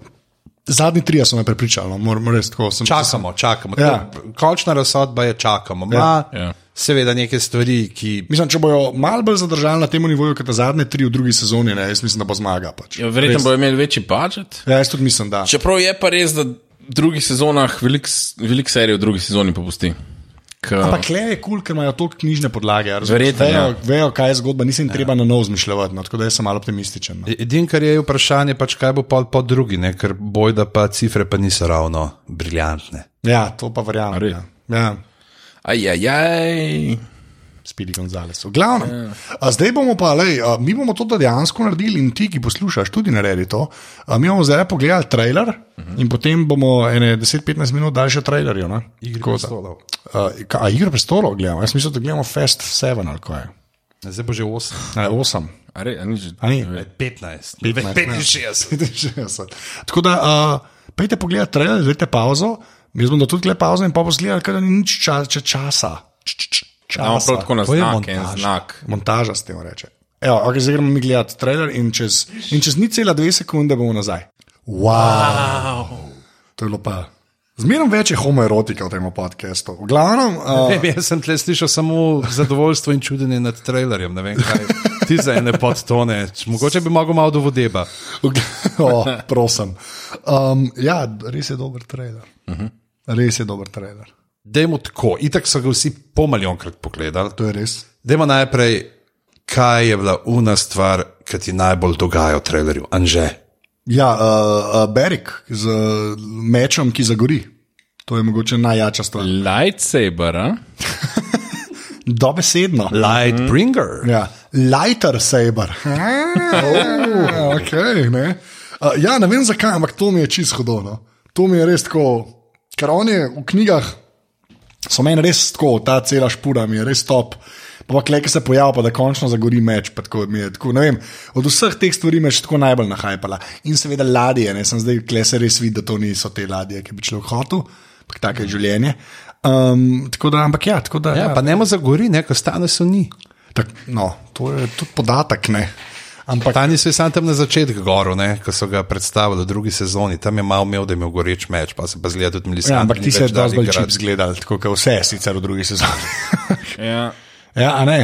S3: zadnji trije so me prepričali, no. moram reči tako. Sem,
S2: Čakamo, čakamo. Ja.
S3: Ja.
S2: Končna razsodba je čakamo. Ma, ja, ja.
S1: ja.
S2: Seveda neke stvari, ki.
S3: Mislim, če bojo malo bolj zadržali na tem nivoju, kot ta zadnje tri v drugi sezoni, ne, jaz mislim, da bo zmaga. Pač.
S1: Ja, verjetno
S3: Res.
S1: bojo imeli večji budžet.
S3: Ja, jaz tudi mislim, da.
S1: Čeprav je pa res, da v drugih sezonah veliko velik serij v drugi sezoni popusti. K,
S3: Ampak le je kul, cool, ker imajo toliko knjižne podlage. a razumeš?
S1: Verjetno,
S3: vejo,
S1: ja.
S3: vejo, kaj je zgodba, nisem ja. treba na novo zmišljati, no, tako da jaz sem malo optimističen.
S1: Ja.
S3: No.
S2: Edino, kar je vprašanje, pač kaj bo pol po drugi, ne? ker bojda pa cifre pa niso ravno briljantne.
S3: Ja, to pa verjamem.
S1: res?
S3: Ja. Ja.
S1: Ajajaj.
S3: Spidi Gonzales. V glavnem. A Zdaj bomo pa, lej, a, mi bomo to dejansko naredili in ti, ki poslušaš, tudi naredi to. A Mi bomo zdaj pogledali trailer uh -huh. in potem bomo ene 10-15 minut dali še trailerju. ne? Tako da-
S2: prestolov.
S3: A, ka- A igro prestolov gledamo? Jaz mislim, da gledamo Fast 7 ali kaj.
S2: Zdaj bo že 8,
S3: Ne, 8.
S1: A re- a ni že-
S3: A ni?
S2: 15,
S3: 65. 65. Tako da, uh, pejte pogledat trailer, dajte pauzo. Jaz bom dal tudi le pauzo in pa bomo gledali, kaj ni nič ča, ča, časa. Č, č, č,
S1: Imamo
S3: časa.
S1: prav tako na
S2: To je
S1: znak, en
S2: montaž.
S1: znak.
S3: Montaža s tem reče. Evo, okay, zdaj gremo mi gledati trailer in čez, in čez ni cela dve sekunde bomo nazaj. Wow. wow. To je bilo pa. Zmerno več je homoerotike v tem podkastu. V glavnem, uh,
S2: Ne, vem, jaz sem tle slišal samo zadovoljstvo in čudenje nad trailerjem. Ne vem, kaj ti za ene podtone. Mogoče bi mogel malo do vodeba.
S3: v gl- oh, prosim. Um, ja, res je dober trailer. Uh
S1: Mhm.
S3: -huh. Res je dober trailer.
S2: Dajmo tako, itak so ga vsi pomaljonkrat pogledali.
S3: To je res.
S2: Dajmo najprej, kaj je bila una stvar, ki ti najbolj dogaja v trailerju, anže.
S3: Ja, uh, uh, Berik z uh, mečem, ki zagori. To je mogoče najjača stvar.
S1: Lightsaber, a?
S3: Dobesedno.
S2: Lightbringer.
S3: Ja. Lighter saber. oh, okay, ne. Uh, ja, ne vem zakaj, ampak to mi je čisto hudo. No. To mi je res tako, ker on je v knjigah, so meni res tako, ta cela špura mi je res top. Pa klej, ki se pojavi, pa da končno zagori meč. pa Tako, mi je, tako, ne vem, od vseh teh stvari me je še tako najbolj nahajpala. In seveda ladje, ne sem zdaj klej se res vidi, da to niso te ladje, ki bi človek hotel, ampak tako je življenje. Um, tako da, ampak ja, tako da.
S2: Ja, pa ne mo zagori, ne, ko stane so ni.
S3: Tak, no, to je tudi podatek. Ne? Ampak
S2: Tani so je sam tam na začetku goro, ne, ko so ga predstavili v drugi sezoni, tam je malo imel, da je imel goreč meč, pa se pa zgleda tudi milijon.
S3: Ja, ampak ti si zdaj bolj čip zgledal, tako kot vse, sicer v drugi sezoni.
S1: Ja.
S3: ja, a ne,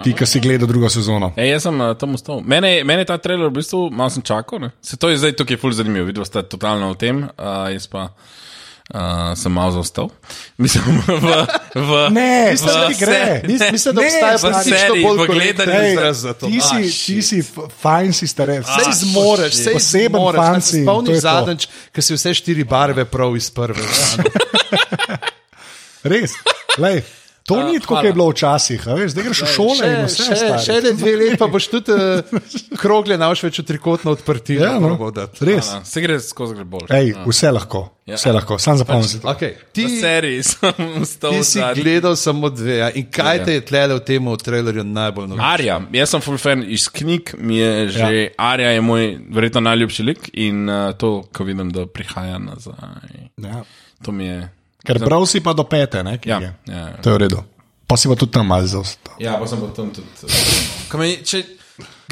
S3: ti, ki si gledal drugo sezono.
S1: E, jaz sem uh, tam ostal. Mene, je- mene je ta trailer v bistvu malo sem čakal. Ne? Se to je zdaj tukaj ful zanimivo, videl ste totalno o tem, uh, jaz pa uh, sem malo zaostal. Mislim, v, v,
S3: Ne,
S1: v
S3: mislim, da
S1: se-
S3: gre.
S2: Mislim- mislim, da
S1: ne,
S2: obstaja
S1: v
S2: praktično
S1: seriji,
S2: bolj
S1: v
S2: korekten
S1: gledanju
S2: Ej,
S3: Ej,
S1: izraz.
S2: izraz za to.
S3: Ti
S2: Ah,
S3: si, ti si f- fajn, si eh, starec.
S4: Sej zmoreš, sej
S3: Poseben
S4: zmoreš. a
S3: fanci
S4: se
S3: in to
S4: Spomniš
S3: je to.
S4: zadnjič,
S2: Ker si vse štiri barve prav iz prve.
S3: Res. Lej, to ni tako, kot je bilo včasih. a Veš, zdaj greš v šole
S2: Še,
S3: in vse
S2: še, še
S3: stari.
S2: ne dve leti, pa boš tudi uh, krogle na več trikotno odprti.
S3: Ja, no, res.
S1: Ja, Se gre skozi gre bolj.
S3: Ej, vse lahko, vse lahko, sam zapomni si to.
S2: Okay.
S1: V
S2: Ti,
S1: seriji sem ostal.
S2: ti si
S1: zadnji.
S2: gledal samo dve. Ja. In kaj
S1: Ja.
S2: te je tlele v tem trailerju najbolj noro?
S1: Arja, jaz sem full fan iz knjig, mi je že ja. Arja je moj verjetno najljubši lik in uh, to, ko vidim, da prihaja nazaj.
S3: Ja.
S1: To mi je.
S3: Ker prav si pa do pete, ne?
S1: Ja,
S3: knjige.
S1: ja.
S3: To je v redu. Pa si pa tudi tam malce zaostal.
S1: Ja, pa sem potem tudi. eh, Me, če,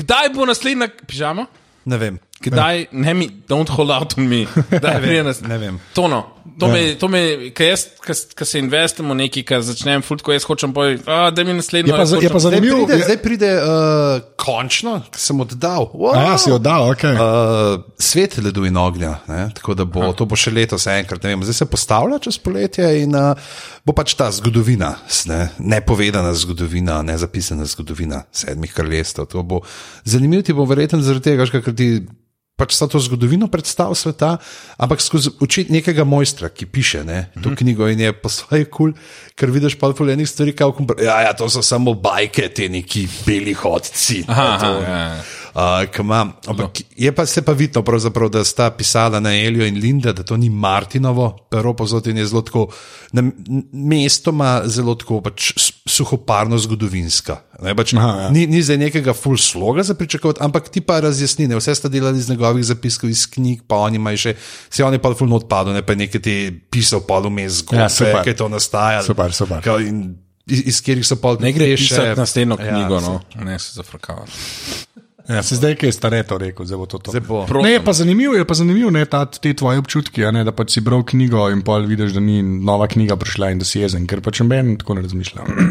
S1: kdaj bo naslednja pižama?
S2: Ne vem.
S3: Ja.
S1: Kdaj, ne mi, don't hold out on me. Kdaj pride nas-
S2: Ja. ne vem.
S1: To no, to me, to me, ker jaz, ker se investim v nekaj, ker začnem futko, jaz hočem boj, a da mi naslednjo.
S3: Je pa,
S1: jaz
S3: za- je pa
S1: hočem-
S2: No, Zdaj
S3: zanimivo.
S2: pride,
S3: je-
S2: zdaj pride uh, končno, ki sem oddal. Wow.
S3: A ja, si oddal, ok.
S2: Uh, svet ledu in ognja. Ne? Tako da bo, to bo še letos enkrat. ne Vem, zdaj se postavlja čez poletje in uh, bo pač ta zgodovina, s- ne? nepovedana zgodovina, nezapisana zgodovina sedmih kraljestev. To bo zanimivo, ti bo verjetno zaradi tega, ker ti. Pač so to zgodovino predstav sveta, ampak skozi oči nekega mojstra, ki piše ne, to mm -hmm. knjigo in je po svoje kul, cool, ker vidiš pa poljenih stvari, kako ja, ja, to so samo bajke, te neki beli hodci. ne,
S1: Aha,
S2: to,
S1: aha, ja.
S2: uh, ki imam. Ampak
S3: No.
S2: je pa se pa vidno, pravzaprav, da sta pisala na Elio in Linda, da to ni Martinovo, pero pozotin je zelo tako, na, m- mestoma zelo tako pač s- suhoparno zgodovinska. Ne, pač,
S3: Aha, ja.
S2: ni, ni zdaj nekega full sloga za pričakovati, ampak ti pa razjasnine. Vse sta delali iz njegovih zapiskov, iz knjig, pa oni imajo še, se on je pa full not padel, ne pa je nekaj ti pisal, pa
S3: Ja,
S2: vmes zgodbe,
S3: super.
S2: ja, ki to nastaja.
S3: Super, super.
S2: Kao In, iz, iz katerih so pa
S1: Ne gre
S2: še Ja,
S1: pisati naslednjo knjigo, no, ne se zafrkavati.
S3: Ja, se zdaj, ki je stare to rekel, zdaj bo to. to.
S2: Zdaj bo.
S3: Ne, je pa zanimivo je, pa zanimiv, ne, ta, te tvoje občutke, a ne, da pač si bral knjigo in pol vidiš, da ni nova knjiga prišla in da si jezen, ker pač meni tako ne razmišljam.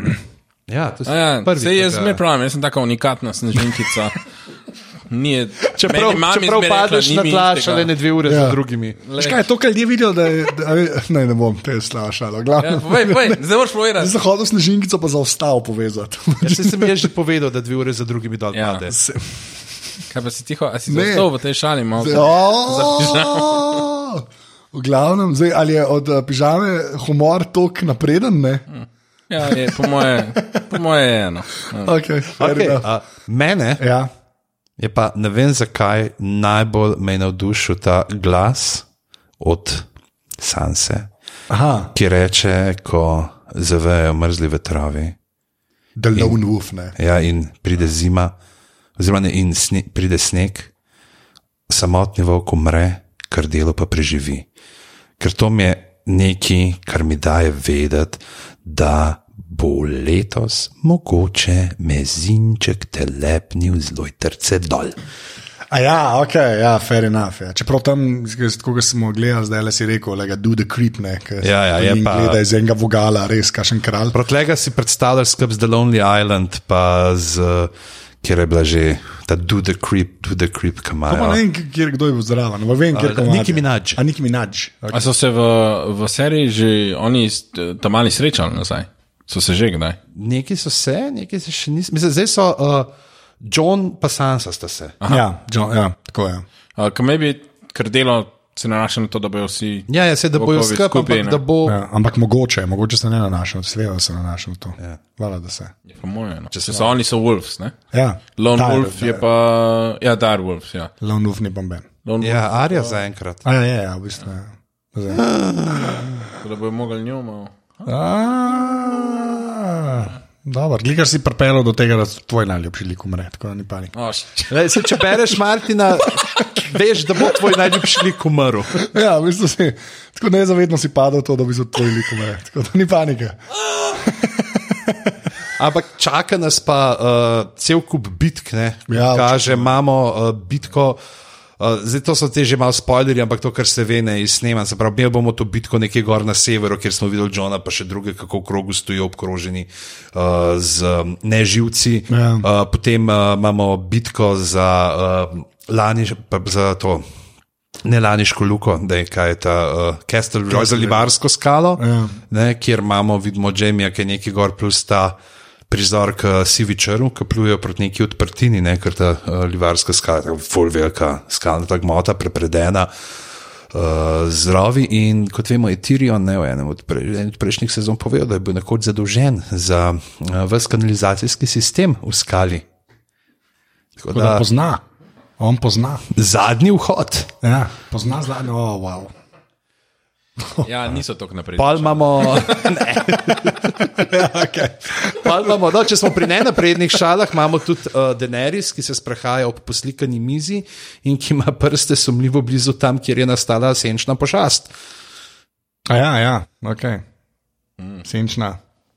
S2: Ja, to si
S1: Ja,
S2: prvi,
S1: Sej jaz
S2: tako da-
S1: zmeraj pravim, jaz sem taka unikatna snežinkica. Nije,
S4: Čeprav, čeprav padeš na tla, šele ne dve ure ja. za drugimi.
S3: Veš Kaj je to, kar ljudje vidijo, da je. Da, je- ne, ne bom te slašal.
S1: Ja,
S3: Glavno.
S1: povej, povej, zdaj moraš povedati.
S3: Zdaj hodil s nežinkico pa zaostal povezati.
S2: Ja, saj sem jaz že povedal, da dve ure za drugimi dol
S1: Ja.
S2: pade.
S1: Kaj pa si tiho, a si
S3: Ne.
S1: zdaj v tej šali malo?
S3: Ja. V glavnem, zdaj, ali je od eh, pižame humor tako napreden? Ne?
S1: Ja, je, po moje, po moje je eno.
S3: Okay,
S2: Okay,
S3: okay.
S2: a, mene
S3: Ja.
S2: je pa ne vem zakaj najbolj me je navdušil ta glas od Sanse,
S3: Aha,
S2: ki reče, ko zavejo mrzli vetrovi.
S3: the lone wolf. Ne.
S2: Ja, in pride zima, oziroma ne, in sne, pride sneg, samotni volk umre, kar delo pa preživi. Ker to mi je nekaj, kar mi daje vedeti, da bo letos mogoče mezinček telepnil zelo trce dol.
S3: A ja, ok, ja, fair enough. Ja. Čeprav tam, z- tako kot smo gledali, zdaj le si rekel, da do the creep, ne, ker
S2: Ja, ja, je
S3: in
S2: pa-
S3: gleda iz enega vogala, res kašen kralj.
S2: Protlega si predstavljaš skrb z The Lonely Island, pa z, eh, kjer je bila že ta do the creep, do the creep
S3: Pa ne
S2: kamara.
S3: vem, kjer kdo je bil zraven, ampak vem, kjer
S2: Ja. A,
S3: komad je.
S2: Nicki Minaj.
S3: A Nicki Minaj.
S1: A so se v, v seriji že oni s- tam ali srečali nazaj? So se že kdaj?
S2: Neki so se, neki se še niso. Mislim, zdaj so uh, John pa Sansa sta se.
S3: Okay. Ja, John, ja, tako je.
S1: Uh, Ker me bi krdelo se nanaša na to, da bojo vsi.
S2: Ja, ja se da bojo
S1: Volkovi skupaj,
S2: skupaj,
S1: ne.
S2: da bo. Ja.
S3: Ja, ampak mogoče, mogoče se ne nanašam, seveda se nanašam na to. Ja. Hvala, da se.
S1: Po moje, no. Če so oni so wolves, ne?
S3: Ja,
S1: Lone
S3: Dire,
S1: wolf je
S3: Dire.
S1: pa, ja, dar wolves, ja.
S3: Lone wolf ni bomben.
S1: Lone
S2: Ja, Arja zaenkrat.
S3: A ja, ja, ja, v bistvu. Ja. Zdaj.
S1: wolf, da bojo mogli njo malo.
S3: A, Dobro, glikar si pripeljal do tega, da tvoj najljubši lik umre, tako da ni panik.
S1: Oh, š-
S2: Le, se, če bereš Martina, veš, da bo tvoj najljubši lik umrl.
S3: Ja, v bistvu si, tako nezavedno si padel v to, da bi se tvoj lik umrl. Tako da ni panike.
S2: Ampak čaka nas pa uh, cel kup bitk, ne?
S3: Ja,
S2: Kaže, imamo uh, bitko. Uh, zdaj to so te že malo spoilerji, ampak to, kar se ve, ne izsnema. Se pravi, imeli bomo to bitko nekje gor na severu, kjer smo videli Johna, pa še druge, kako v krogu stojijo obkroženi uh, z um, neživci.
S3: Ja.
S2: Uh, potem uh, imamo bitko za uh, lani, pa za to. Ne laniško luko, da je kaj je ta uh, Castle Royale, za Libarsko skalo,
S3: Ja.
S2: ne, kjer imamo, vidimo, Jamija, ki je neki gor, plus ta prizor k Sivičeru, ki plujejo proti neki odprtini, ne, ker ta uh, Livarska skala, je ful velika skalna gmota, prepredena. Uh, Zdravi in kot vemo, je Tirion ne, v enem od, pre, eni od prejšnjih sezon povedal, da je bil nekoč zadolžen za uh, vse kanalizacijski sistem v skali. Tako
S3: Tako da
S2: da,
S3: pozna, on pozna.
S2: zadnji vhod.
S3: Ja, pozna zadnjo, oh, wow.
S1: Ja, niso tako naprej.
S2: Pol imamo. Pol imamo no, če smo pri nenaprednih šalah, imamo tudi uh, Denerys, ki se sprehaja ob poslikani mizi in ki ima prste sumljivo blizu tam, kjer je nastala senčna pošast.
S3: A ja, ja, ok. Senčna.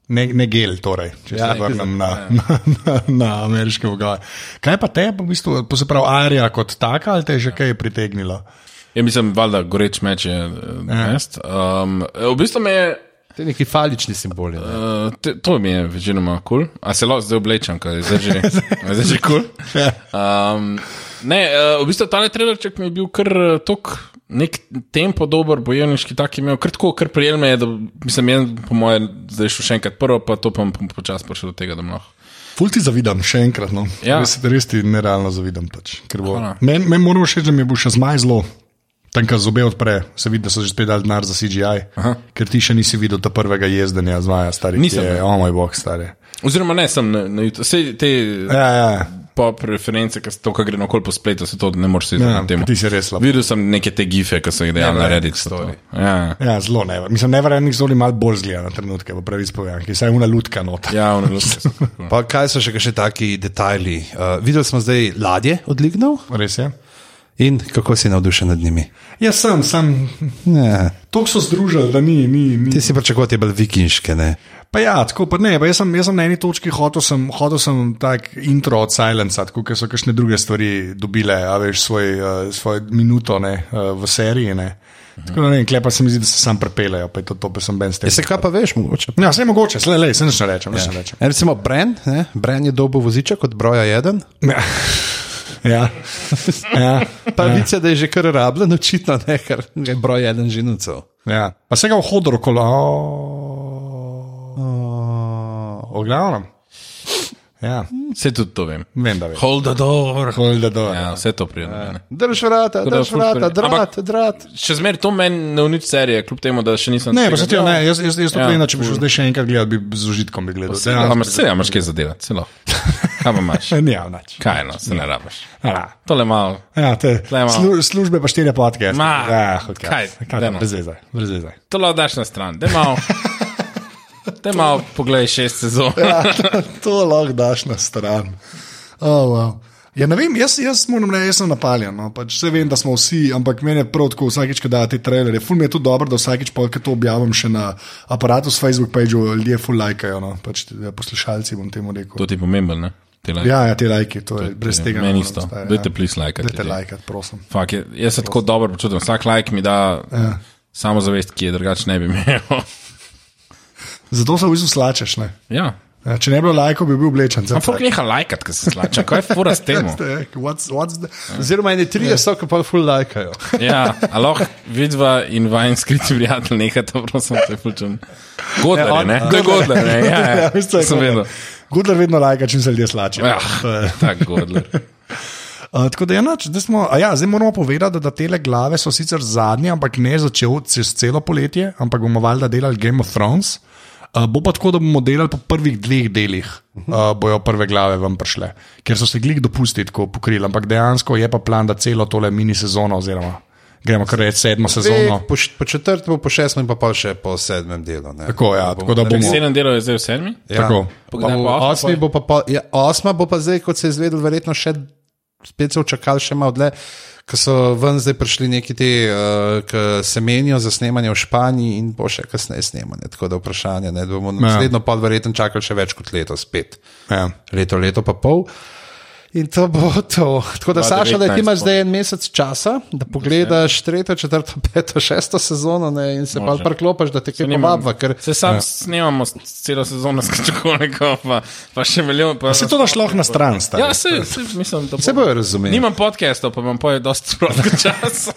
S3: Ne, ne gel, torej, če Mm. ja, se vrnem na, na, na, na ameriške vogaje. Kaj pa te, pa v bistvu, to se pravi, arija kot taka, ali te je že kaj pritegnilo?
S1: Ja, mislim, valjda, goreč meč je. Ja. Um, v bistvu me je.
S2: To je neki falični simbol. je, ne?
S1: Uh, te, to mi je večinoma kul, cool. a se lahko zdaj oblečem, kaj je zdaj že, a je zdaj že kul. Cool. Um, ne, uh, v bistvu ta trailerček mi je bil kar eh, tok. Nek tempo dober, bojevniški, tako je imel, kar tako, kar prijel me je, da mislim, jaz, po mojem, zdaj šel še enkrat prvo, pa to pa bom počasi prišel do tega, da mlah.
S3: Ful ti zavidam, še enkrat. No.
S1: Ja.
S3: Ja.
S1: no.
S3: Res, res ti nerealno zavidam. Pač, ker bo-
S1: Hvala.
S3: Meni men moram všeč, da mi je bil še zmaj zelo. Tam, kjer zobe odpre, se vidi, da so že spet dali denar za CGI, Aha. ker ti še nisi videl ta prvega jezdenja zmaja, stari.
S1: Nisem,
S3: ki Je,
S1: ne.
S3: o moj bog, stari.
S1: Oziroma, ne, sem na, na YouTube, vse te
S3: Ja, ja.
S1: pop reference, ki to, kar gre naokol po spletu, se to ne moreš
S3: Ja,
S1: izogniti.
S3: ti si ja, res slab.
S1: Videl sem neke te gife, ki so jih dejali na Reddit. za to. Ja,
S3: Ja, zelo never. Mislim, never enih zoli malo bolj zgleda na trenutke, v pravi spovedanki, saj je una lutka nota.
S1: ja ono luske so tako.
S2: Eh, Pa kaj so še kakšni taki detajli? Uh, videli smo zdaj ladje od Lignov
S3: Res je.
S2: in kako si navdušen nad njimi.
S3: Jaz sem, sem,
S2: Ne,
S3: toliko so združili, da ni, ni, ni.
S2: ti si pričakoval te bolj vikinške, ne?
S3: Pa ja, tako pa ne. Pa jaz, sem, jaz sem na eni točki hotel, sem, hotel sem tak intro od Silenca, tako ker so kakšne druge stvari dobile, a veš, svoj, uh, svoj minuto ne, uh, v seriji. Ne. Tako da ne, klepa se mi zdi, da se sam prepelejo, pa je to, to pa sem ben s tem.
S2: Ja, se kaj pa veš, mogoče.
S3: Ja, vse je mogoče, le, le, se nič ne rečem. Ja. Ne rečem.
S2: E, recimo Bren, ne? Bren je dobo voziček od broja 1.
S3: Ja. Ja. Ja.
S2: Pa ja. vice, da je že kar rabljen, očitno ne, ker je broj 1 že nucev.
S3: Ja. Pa se ga v hodu rokolo. O glavnem. Ja,
S1: Vse tudi to vem.
S3: vem, da veš.
S1: Hold the door.
S3: Hol, da do.
S1: Ja, vse to pride. Ja.
S2: Drž vrata, drž
S1: ful
S2: vrata,
S1: stvari.
S2: drat,
S1: Ampak-
S2: drat.
S1: Še zmeraj to meni ne unič serije, kljub temu, da še nisem.
S3: Ne,
S1: tega
S3: pa se ti
S1: gledal.
S3: ne, jaz, jaz, jaz to
S1: Ja,
S3: gledam, če bi šel zdaj še enkrat gledal, bi z užitkom bi gledal.
S1: Saj, a imaš- Ja, Saj, a imaš kaj zadevati, celo. Kaj pa imaš?
S3: Ne, ja, nič.
S1: Kaj no, se ne rabiš.
S3: Ja,
S1: Tole malo.
S3: Ja, te,
S1: imamo.
S3: slu, službe pa štiri podke.
S1: Ma,
S3: ja, hodke.
S1: kaj,
S3: kaj,
S1: dajmo.
S3: brez veze, brez veze.
S1: To lahko daš na stran. Daj malo, daj malo poglej šest sezon. Ja.
S3: to lahko daš na stran. Oh, wow. Ja, ne vem, jaz, jaz moram reči, jaz sem napaljen. No. Pač vse vem, da smo vsi, ampak meni je prav tako vsakič, ko dajo te trailerje. Ful mi je tudi dobro, da vsakič, pa, ko to objavim še na aparatu s Facebook pageu, ljudje ful lajkajo. No. Pač, ja, poslušalci bom temu rekel.
S1: To ti je pomembno, ne? Te like.
S3: Ja, ja, te lajke, to je brez tega. ne
S1: Meni
S3: morem
S1: isto.
S3: obstajati,
S1: Dajte,
S3: ja.
S1: please, lajkati.
S3: Dajte lajkat, prosim.
S1: Fak, je- jaz se tako dobro počutim. Vsak like mi da ja. samo zavest, ki je drugače ne bi imel.
S3: Zato se v bistvu slačeš. Ne?
S1: ja.
S3: Ja, Če ne bi bilo lajkov, bi bil oblečen.
S1: Ampak folk neha lajkati, ker se slača. Kaj je fura s tem?
S3: What's, what's the...
S2: Oziroma, eni tri
S3: Ja.
S2: so, ki pa full lajkajo.
S1: Ja, aloh, vidva in vajen skriti prijatelj, nehata, prosim, te počutim. Godler, je, ne? To je Godler, ne? Ja, ja,
S3: veš, to je
S1: sem
S3: Godler.
S1: vedel.
S3: Gudler vedno lajka, čim se ljudje slačijo.
S1: Ja,
S3: To je-
S1: tako Godler.
S3: A, Eh, tako da je noč, zdaj, smo, a ja, zdaj moramo povedati, da, da te glave so sicer zadnje, ampak ne začel čez celo poletje, ampak bomo valjda delali Game of Thrones. Uh, bo pa tako, da bomo delali po prvih dveh delih, uh, bojo prve glave vam prišle, ker so se glik dopusti tako pokrili, ampak dejansko je pa plan, da celo tole mini sezono, oziroma gremo kar reči sedmo sezono.
S2: Po, š- po četrtem, po šestem in pa pol še po sedmem delu. Ne.
S3: Tako, ja, tako da bomo.
S1: Sedem delov je zdaj v sedmi?
S2: Ja.
S3: tako.
S2: Pa
S1: Pogledaj,
S2: v
S1: pa osma
S2: Osmi bo pa, pol, ja, osma bo pa zdaj, kot se je izvedel, verjetno še spet so čakali še malo dlje, ker so ven zdaj prišli neki ti, uh, ki se menijo za snemanje v Španiji in bo še kasneje snemanje. Tako da vprašanje, ne, da bomo naslednjo pa verjetno čakali še več kot leto spet.
S3: Ja.
S2: Leto, leto pa pol. In to bo to. Tako da,
S1: 2019
S2: Saša, da ti imaš
S1: pol.
S2: zdaj en mesec časa, da pogledaš tretjo, četrto, peto, šesto sezono ne, in se pa priklopiš, da te kaj ne
S1: Nimam-
S2: vabva. Ker
S1: Se sam ja. snemamo s- celo sezono s Kačakolnikom, pa, pa še milijon. Pa
S3: Se to daš lahko na stran, stari.
S1: Ja, se, se, mislim, da bo.
S2: se bojo razumeli.
S1: Nimam podcastov, pa imam poje dosti sprotnega časa.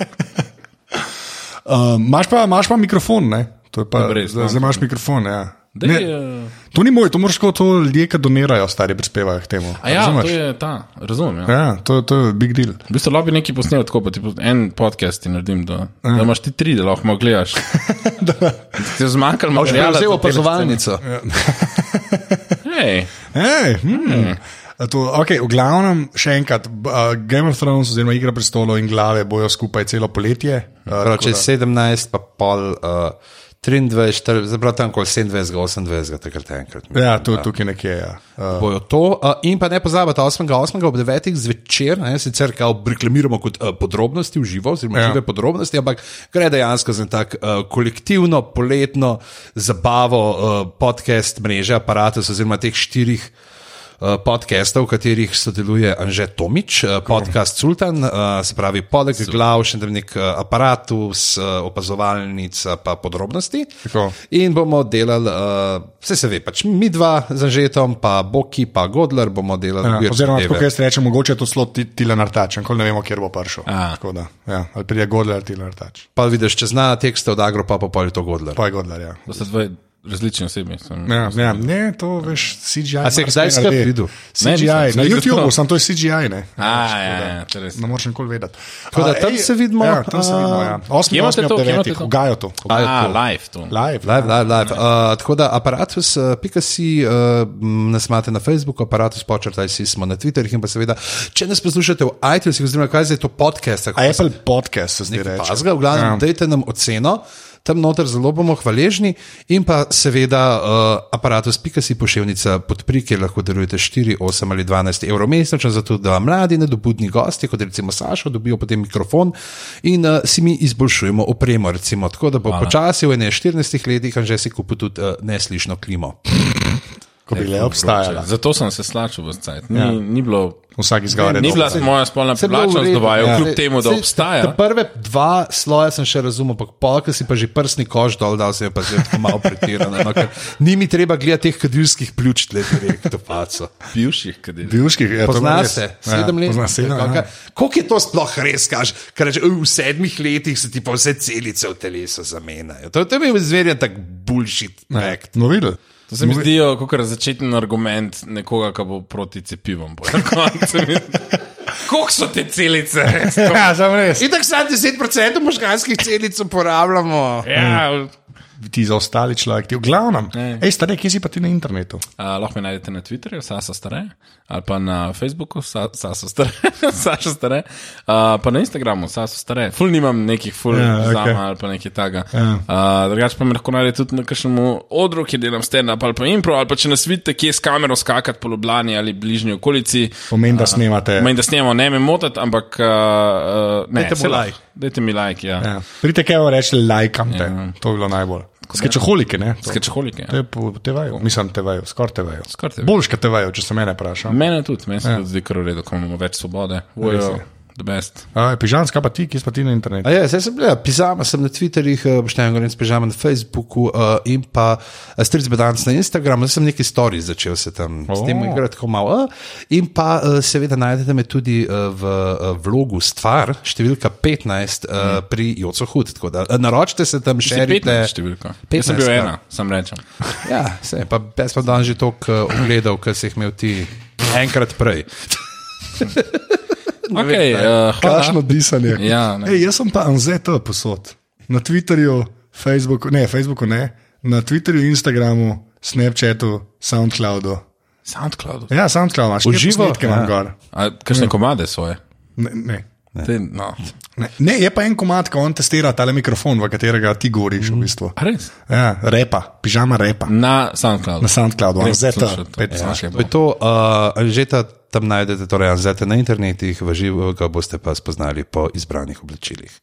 S3: Uh, imaš, pa, imaš pa mikrofon, ne? To je pa
S1: Dobre,
S3: res.
S1: znam.
S3: Zdaj zdaj imaš mikrofon, ja.
S1: Dej,
S3: Ne,
S1: eh,
S3: To ni moj, to moraš kot to ljudje, ki donirajo, stari prispevajo k temu.
S1: A ja,
S3: Razumeš?
S1: to je ta, razumem. Ja.
S3: Ja, to, to je big deal.
S1: V bistvu lobby neki posnel tako, pa ti en podcast in naredim, da,
S2: Ja.
S1: da imaš ti tri, da lahko malo gledaš. Ti je zmanjkalo
S2: Boš
S1: materiala.
S2: prevzel
S1: za te
S2: opazovalnico.
S1: scene. Hej,
S3: Ej, hmm. A To, okay, v glavnem, še enkrat, b- uh, Game of Thrones oziroma Igra prestolov in glave bojo skupaj celo poletje. Uh,
S2: Prav, če je 17, pa pol uh, 23, zelo tam kot 27, 28, takrat enkrat.
S3: ja, to je tukaj nekje. Ja. Uh,
S2: Bojo to. Uh, in pa ne pozabite, 8. 8. ob 9. zvečer, ne, sicer kao reklamiramo kot uh, podrobnosti v živo, oziroma ja.
S3: Ja.
S2: žive podrobnosti, ampak gre dejansko za en tak uh, kolektivno, poletno zabavo uh, podcast mreže, aparatus oziroma teh štirih. uh, Podcastov, v katerih sodeluje Anže Tomič, uh, podcast Sultan, uh, se pravi, poleg glav, še nek uh, aparatus, uh, opazovalnica, pa podrobnosti.
S3: Tako.
S2: In bomo delali, uh, vse se ve, pač mi dva z Anžetom, pa Boki, pa Godler bomo delali.
S3: ja,
S2: weird
S3: oziroma,
S2: zadeve.
S3: kot jaz rečem, mogoče je to slot Tilan Artač, nikoli ne vemo, kjer bo prišel.
S1: A.
S3: Tako Da, ja, ali pride Godler ali Tilan Artač.
S2: pa vidiš, če zna tekste od Agro, pa pa je to Godler.
S3: Pa je Godler, ja.
S1: to sta dve različni osebi. Sem,
S3: Ja, ja, ne, to veš, CGI.
S2: A se je
S3: marsikaj
S2: kdaj skrb
S3: naredi.
S2: videl?
S1: Ne,
S3: CGI,
S1: nisem
S3: na
S1: videl
S3: YouTubu,
S1: tako.
S3: samo to je CGI. Ne,
S1: A,
S3: Veš,
S1: ja,
S3: tako da
S1: ja, to res.
S3: Ne moreš nikoli vedeti.
S2: Tako da
S3: A,
S2: tam
S3: ej,
S2: se vidimo,
S3: Ja, tam se
S2: a-
S3: vidimo. Ja. 8.
S1: Kje imate
S3: 8.
S1: to,
S3: ob
S1: kje imate
S3: 9.
S1: to?
S3: Ugajo to.
S2: je
S1: A,
S2: to?
S1: live to.
S3: Live.
S2: Live, live, live.
S3: Ja.
S2: Uh, tako da aparatus, uh, pika si, uh, m, nas imate na Facebooku, aparatus počrtaj si smo na Twitterju in pa seveda, če nas poslušate v iTunesih, oziroma kaj zdaj je to podcast, tako
S3: A Apple podcast se zdaj reče.
S2: Pazga, v glavnem, ja. dajte nam oceno, tam noter zelo bomo hvaležni in pa seveda uh, aparatus Pikasi pošiljnica podpri, kjer lahko delujete 4, 8 ali 12 evrov mesečno, zato da mladi nedobudni gosti, kot recimo Sašo, dobijo potem mikrofon in uh, si mi izboljšujemo opremo, recimo, tako da bo Hvala. počasi v ene 14 letih, a že si kupil tudi uh, neslišno klimo.
S3: Ko bi le obstajala.
S1: Zato sem se slačil v cajt. Ni, ja. ni bilo.
S3: Vsak izgovor je
S1: Ni
S3: dober.
S1: bila moja spolna
S2: Saj je bilo v
S1: privlačnost
S2: redu,
S1: do vaju,
S2: ja.
S1: kljub temu, da
S2: Saj, ta
S1: obstaja.
S2: Prve dva sloja sem še razumel, ampak polk si pa že prsni koš dol, da se je pa zdaj tako malo pretirano. No, ker ni mi treba gledati teh kadilskih pljuč, da je to paco.
S1: Bivših, kaj
S3: Bivških, ja, to
S2: Pozna
S3: je res.
S2: se, sedem
S3: ja,
S2: let.
S3: Pozna sedem,
S2: Kako-
S3: ja.
S2: Koliko je to sploh res, kaže? Ker reče, "Oj, v sedmih letih se ti pa vse celice v telesu zamenjajo. To, to je bil zmerjen tak bullshit.
S3: Ne,
S2: fact.
S3: No, videl.
S1: To se mi zdijo kot začetni argument nekoga, ki bo proti cepivom. pol na koncu. Koliko so te celice?
S3: Ja, sem res.
S2: In tako samo 10% možganskih celic uporabljamo.
S1: Ja,
S3: Ti zaostali človek, ti v glavnem. Ej, stari, kje si pa ti na internetu?
S1: a, lahko me najdete na Twitterju, Sasa Stare, ali pa na Facebooku, Sa- Sasa Stare, Saša Stare, a, pa na Instagramu, Sasa Stare. Ful nimam nekih ful
S3: Ja,
S1: yeah,
S3: okej.
S1: zama okay. ali pa nekaj takega.
S3: Ja.
S1: Yeah. Drugač pa me lahko najdete tudi na kakšnem odru, ki delam stand-up ali pa impro, ali pa če nas vidite, kje s kamero skakati po Ljubljani ali bližnji okolici.
S3: Pomeni, da snemate.
S1: Meni, da snemamo, ne me motiti, ampak uh, uh, ne,
S2: Dajte mu
S1: saj lahko.
S2: like.
S1: Dajte mi like, ja. ja.
S3: Ja. Pridite, kaj vam reče, lajkam te. Ja. To je bilo najbolj. Skečoholike, ne? To.
S1: Skečholike.
S3: Te po TV-ju, mislim TV-ju, skoraj TV-ju.
S1: Skoraj TV-ju.
S3: Boljš kot TV-ju, če se mene vpraša.
S1: Mene tudi, meni se ja. zdi kar v redu, ko imamo več svobode. Vojo,
S3: je.
S1: the best.
S3: A, Pižanska pa ti, ki si pa ti na internetu.
S2: A Ja, zdaj sem bila, pisama sem na Twitterju, poštejem govorim s pižamom na Facebooku uh, in pa eh, stric bedanc na Instagramu, zdaj sem neki story začel se tam, oh. s tem igrati tako malo. Uh, in pa uh, seveda najdete me tudi uh, v uh, vlogu stvar, številka 15 uh, mm. pri Joco Hud, tako da uh, naročite se tam še
S1: Ti petna številka. Jaz sem
S2: 15,
S1: bil
S2: ja.
S1: ena, sam rečem.
S2: Ja, se, pa jaz sem danes že toliko uh, ogledal, ker si jih imel ti enkrat prej.
S1: Okay, uh, hvala.
S3: Kakšno disanje.
S1: Ja, ne.
S3: Ej, jaz sem pa anzeta posod. Na Twitterju, Facebooku, ne, Facebooku ne, na Twitterju, Instagramu, Snapchatu, Soundcloudu.
S1: Soundcloud.
S3: Ja, Soundcloud imaš,
S2: živo?
S3: Ki imam
S2: Ja.
S3: gor.
S1: Kakšne komade svoje?
S3: Ne, ne.
S1: Te, no.
S3: Ne, ne, je pa en komat, ko on testira ta mikrofon, v katerega ti goriš, v bistvu.
S1: A res?
S3: Ja, repa, pižama repa.
S1: Na Soundcloudu.
S3: Na Soundcloudu,
S1: Grem
S3: anzeta,
S1: poslušat to.
S3: pet
S1: Ja.
S3: snaške.
S2: To je to, uh, že ta, tam najdete, torej anzete na internetih, v živo ga boste pa spoznali po izbranih oblačilih.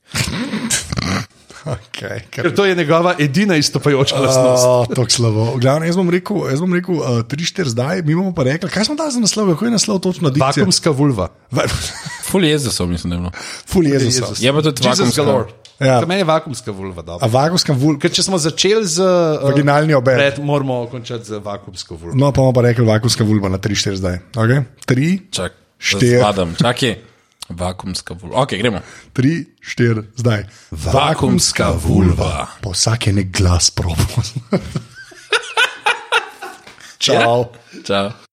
S3: Okay,
S2: Ker to je njegova edina izstopajoča lastnost.
S3: Oh, tako slabo. Glavno, jaz bom rekel, jaz bom rekel uh, tri, štiri zdaj, mi bomo pa rekli, kaj smo dali za naslov, kako je naslov točno dikcija?
S2: Vakumska vulva.
S3: Va-
S1: Ful jezda so, mislim, da je bilo.
S3: Ful Jezus.
S2: Jezus.
S1: Je pa tudi vakuumska.
S3: Ja.
S2: Ja. Za mene je vakumska vulva
S3: A
S2: dobra.
S3: vagovska vulva.
S2: Ker če smo začeli z uh,
S3: Vaginalni obed.
S2: pred, moramo končati z vakumsko vulvo.
S3: No, pa bomo pa rekli vagovska vulva na tri, štiri zdaj. Okay? Tri,
S1: Čak,
S3: Štiri.
S1: Spadam, čakaj. Vakumska vulva. Ok, gremo.
S3: tri, štiri zdaj.
S1: Vakuumska vulva.
S3: Pa vsak je nek glas probo. Čau.
S1: Čau.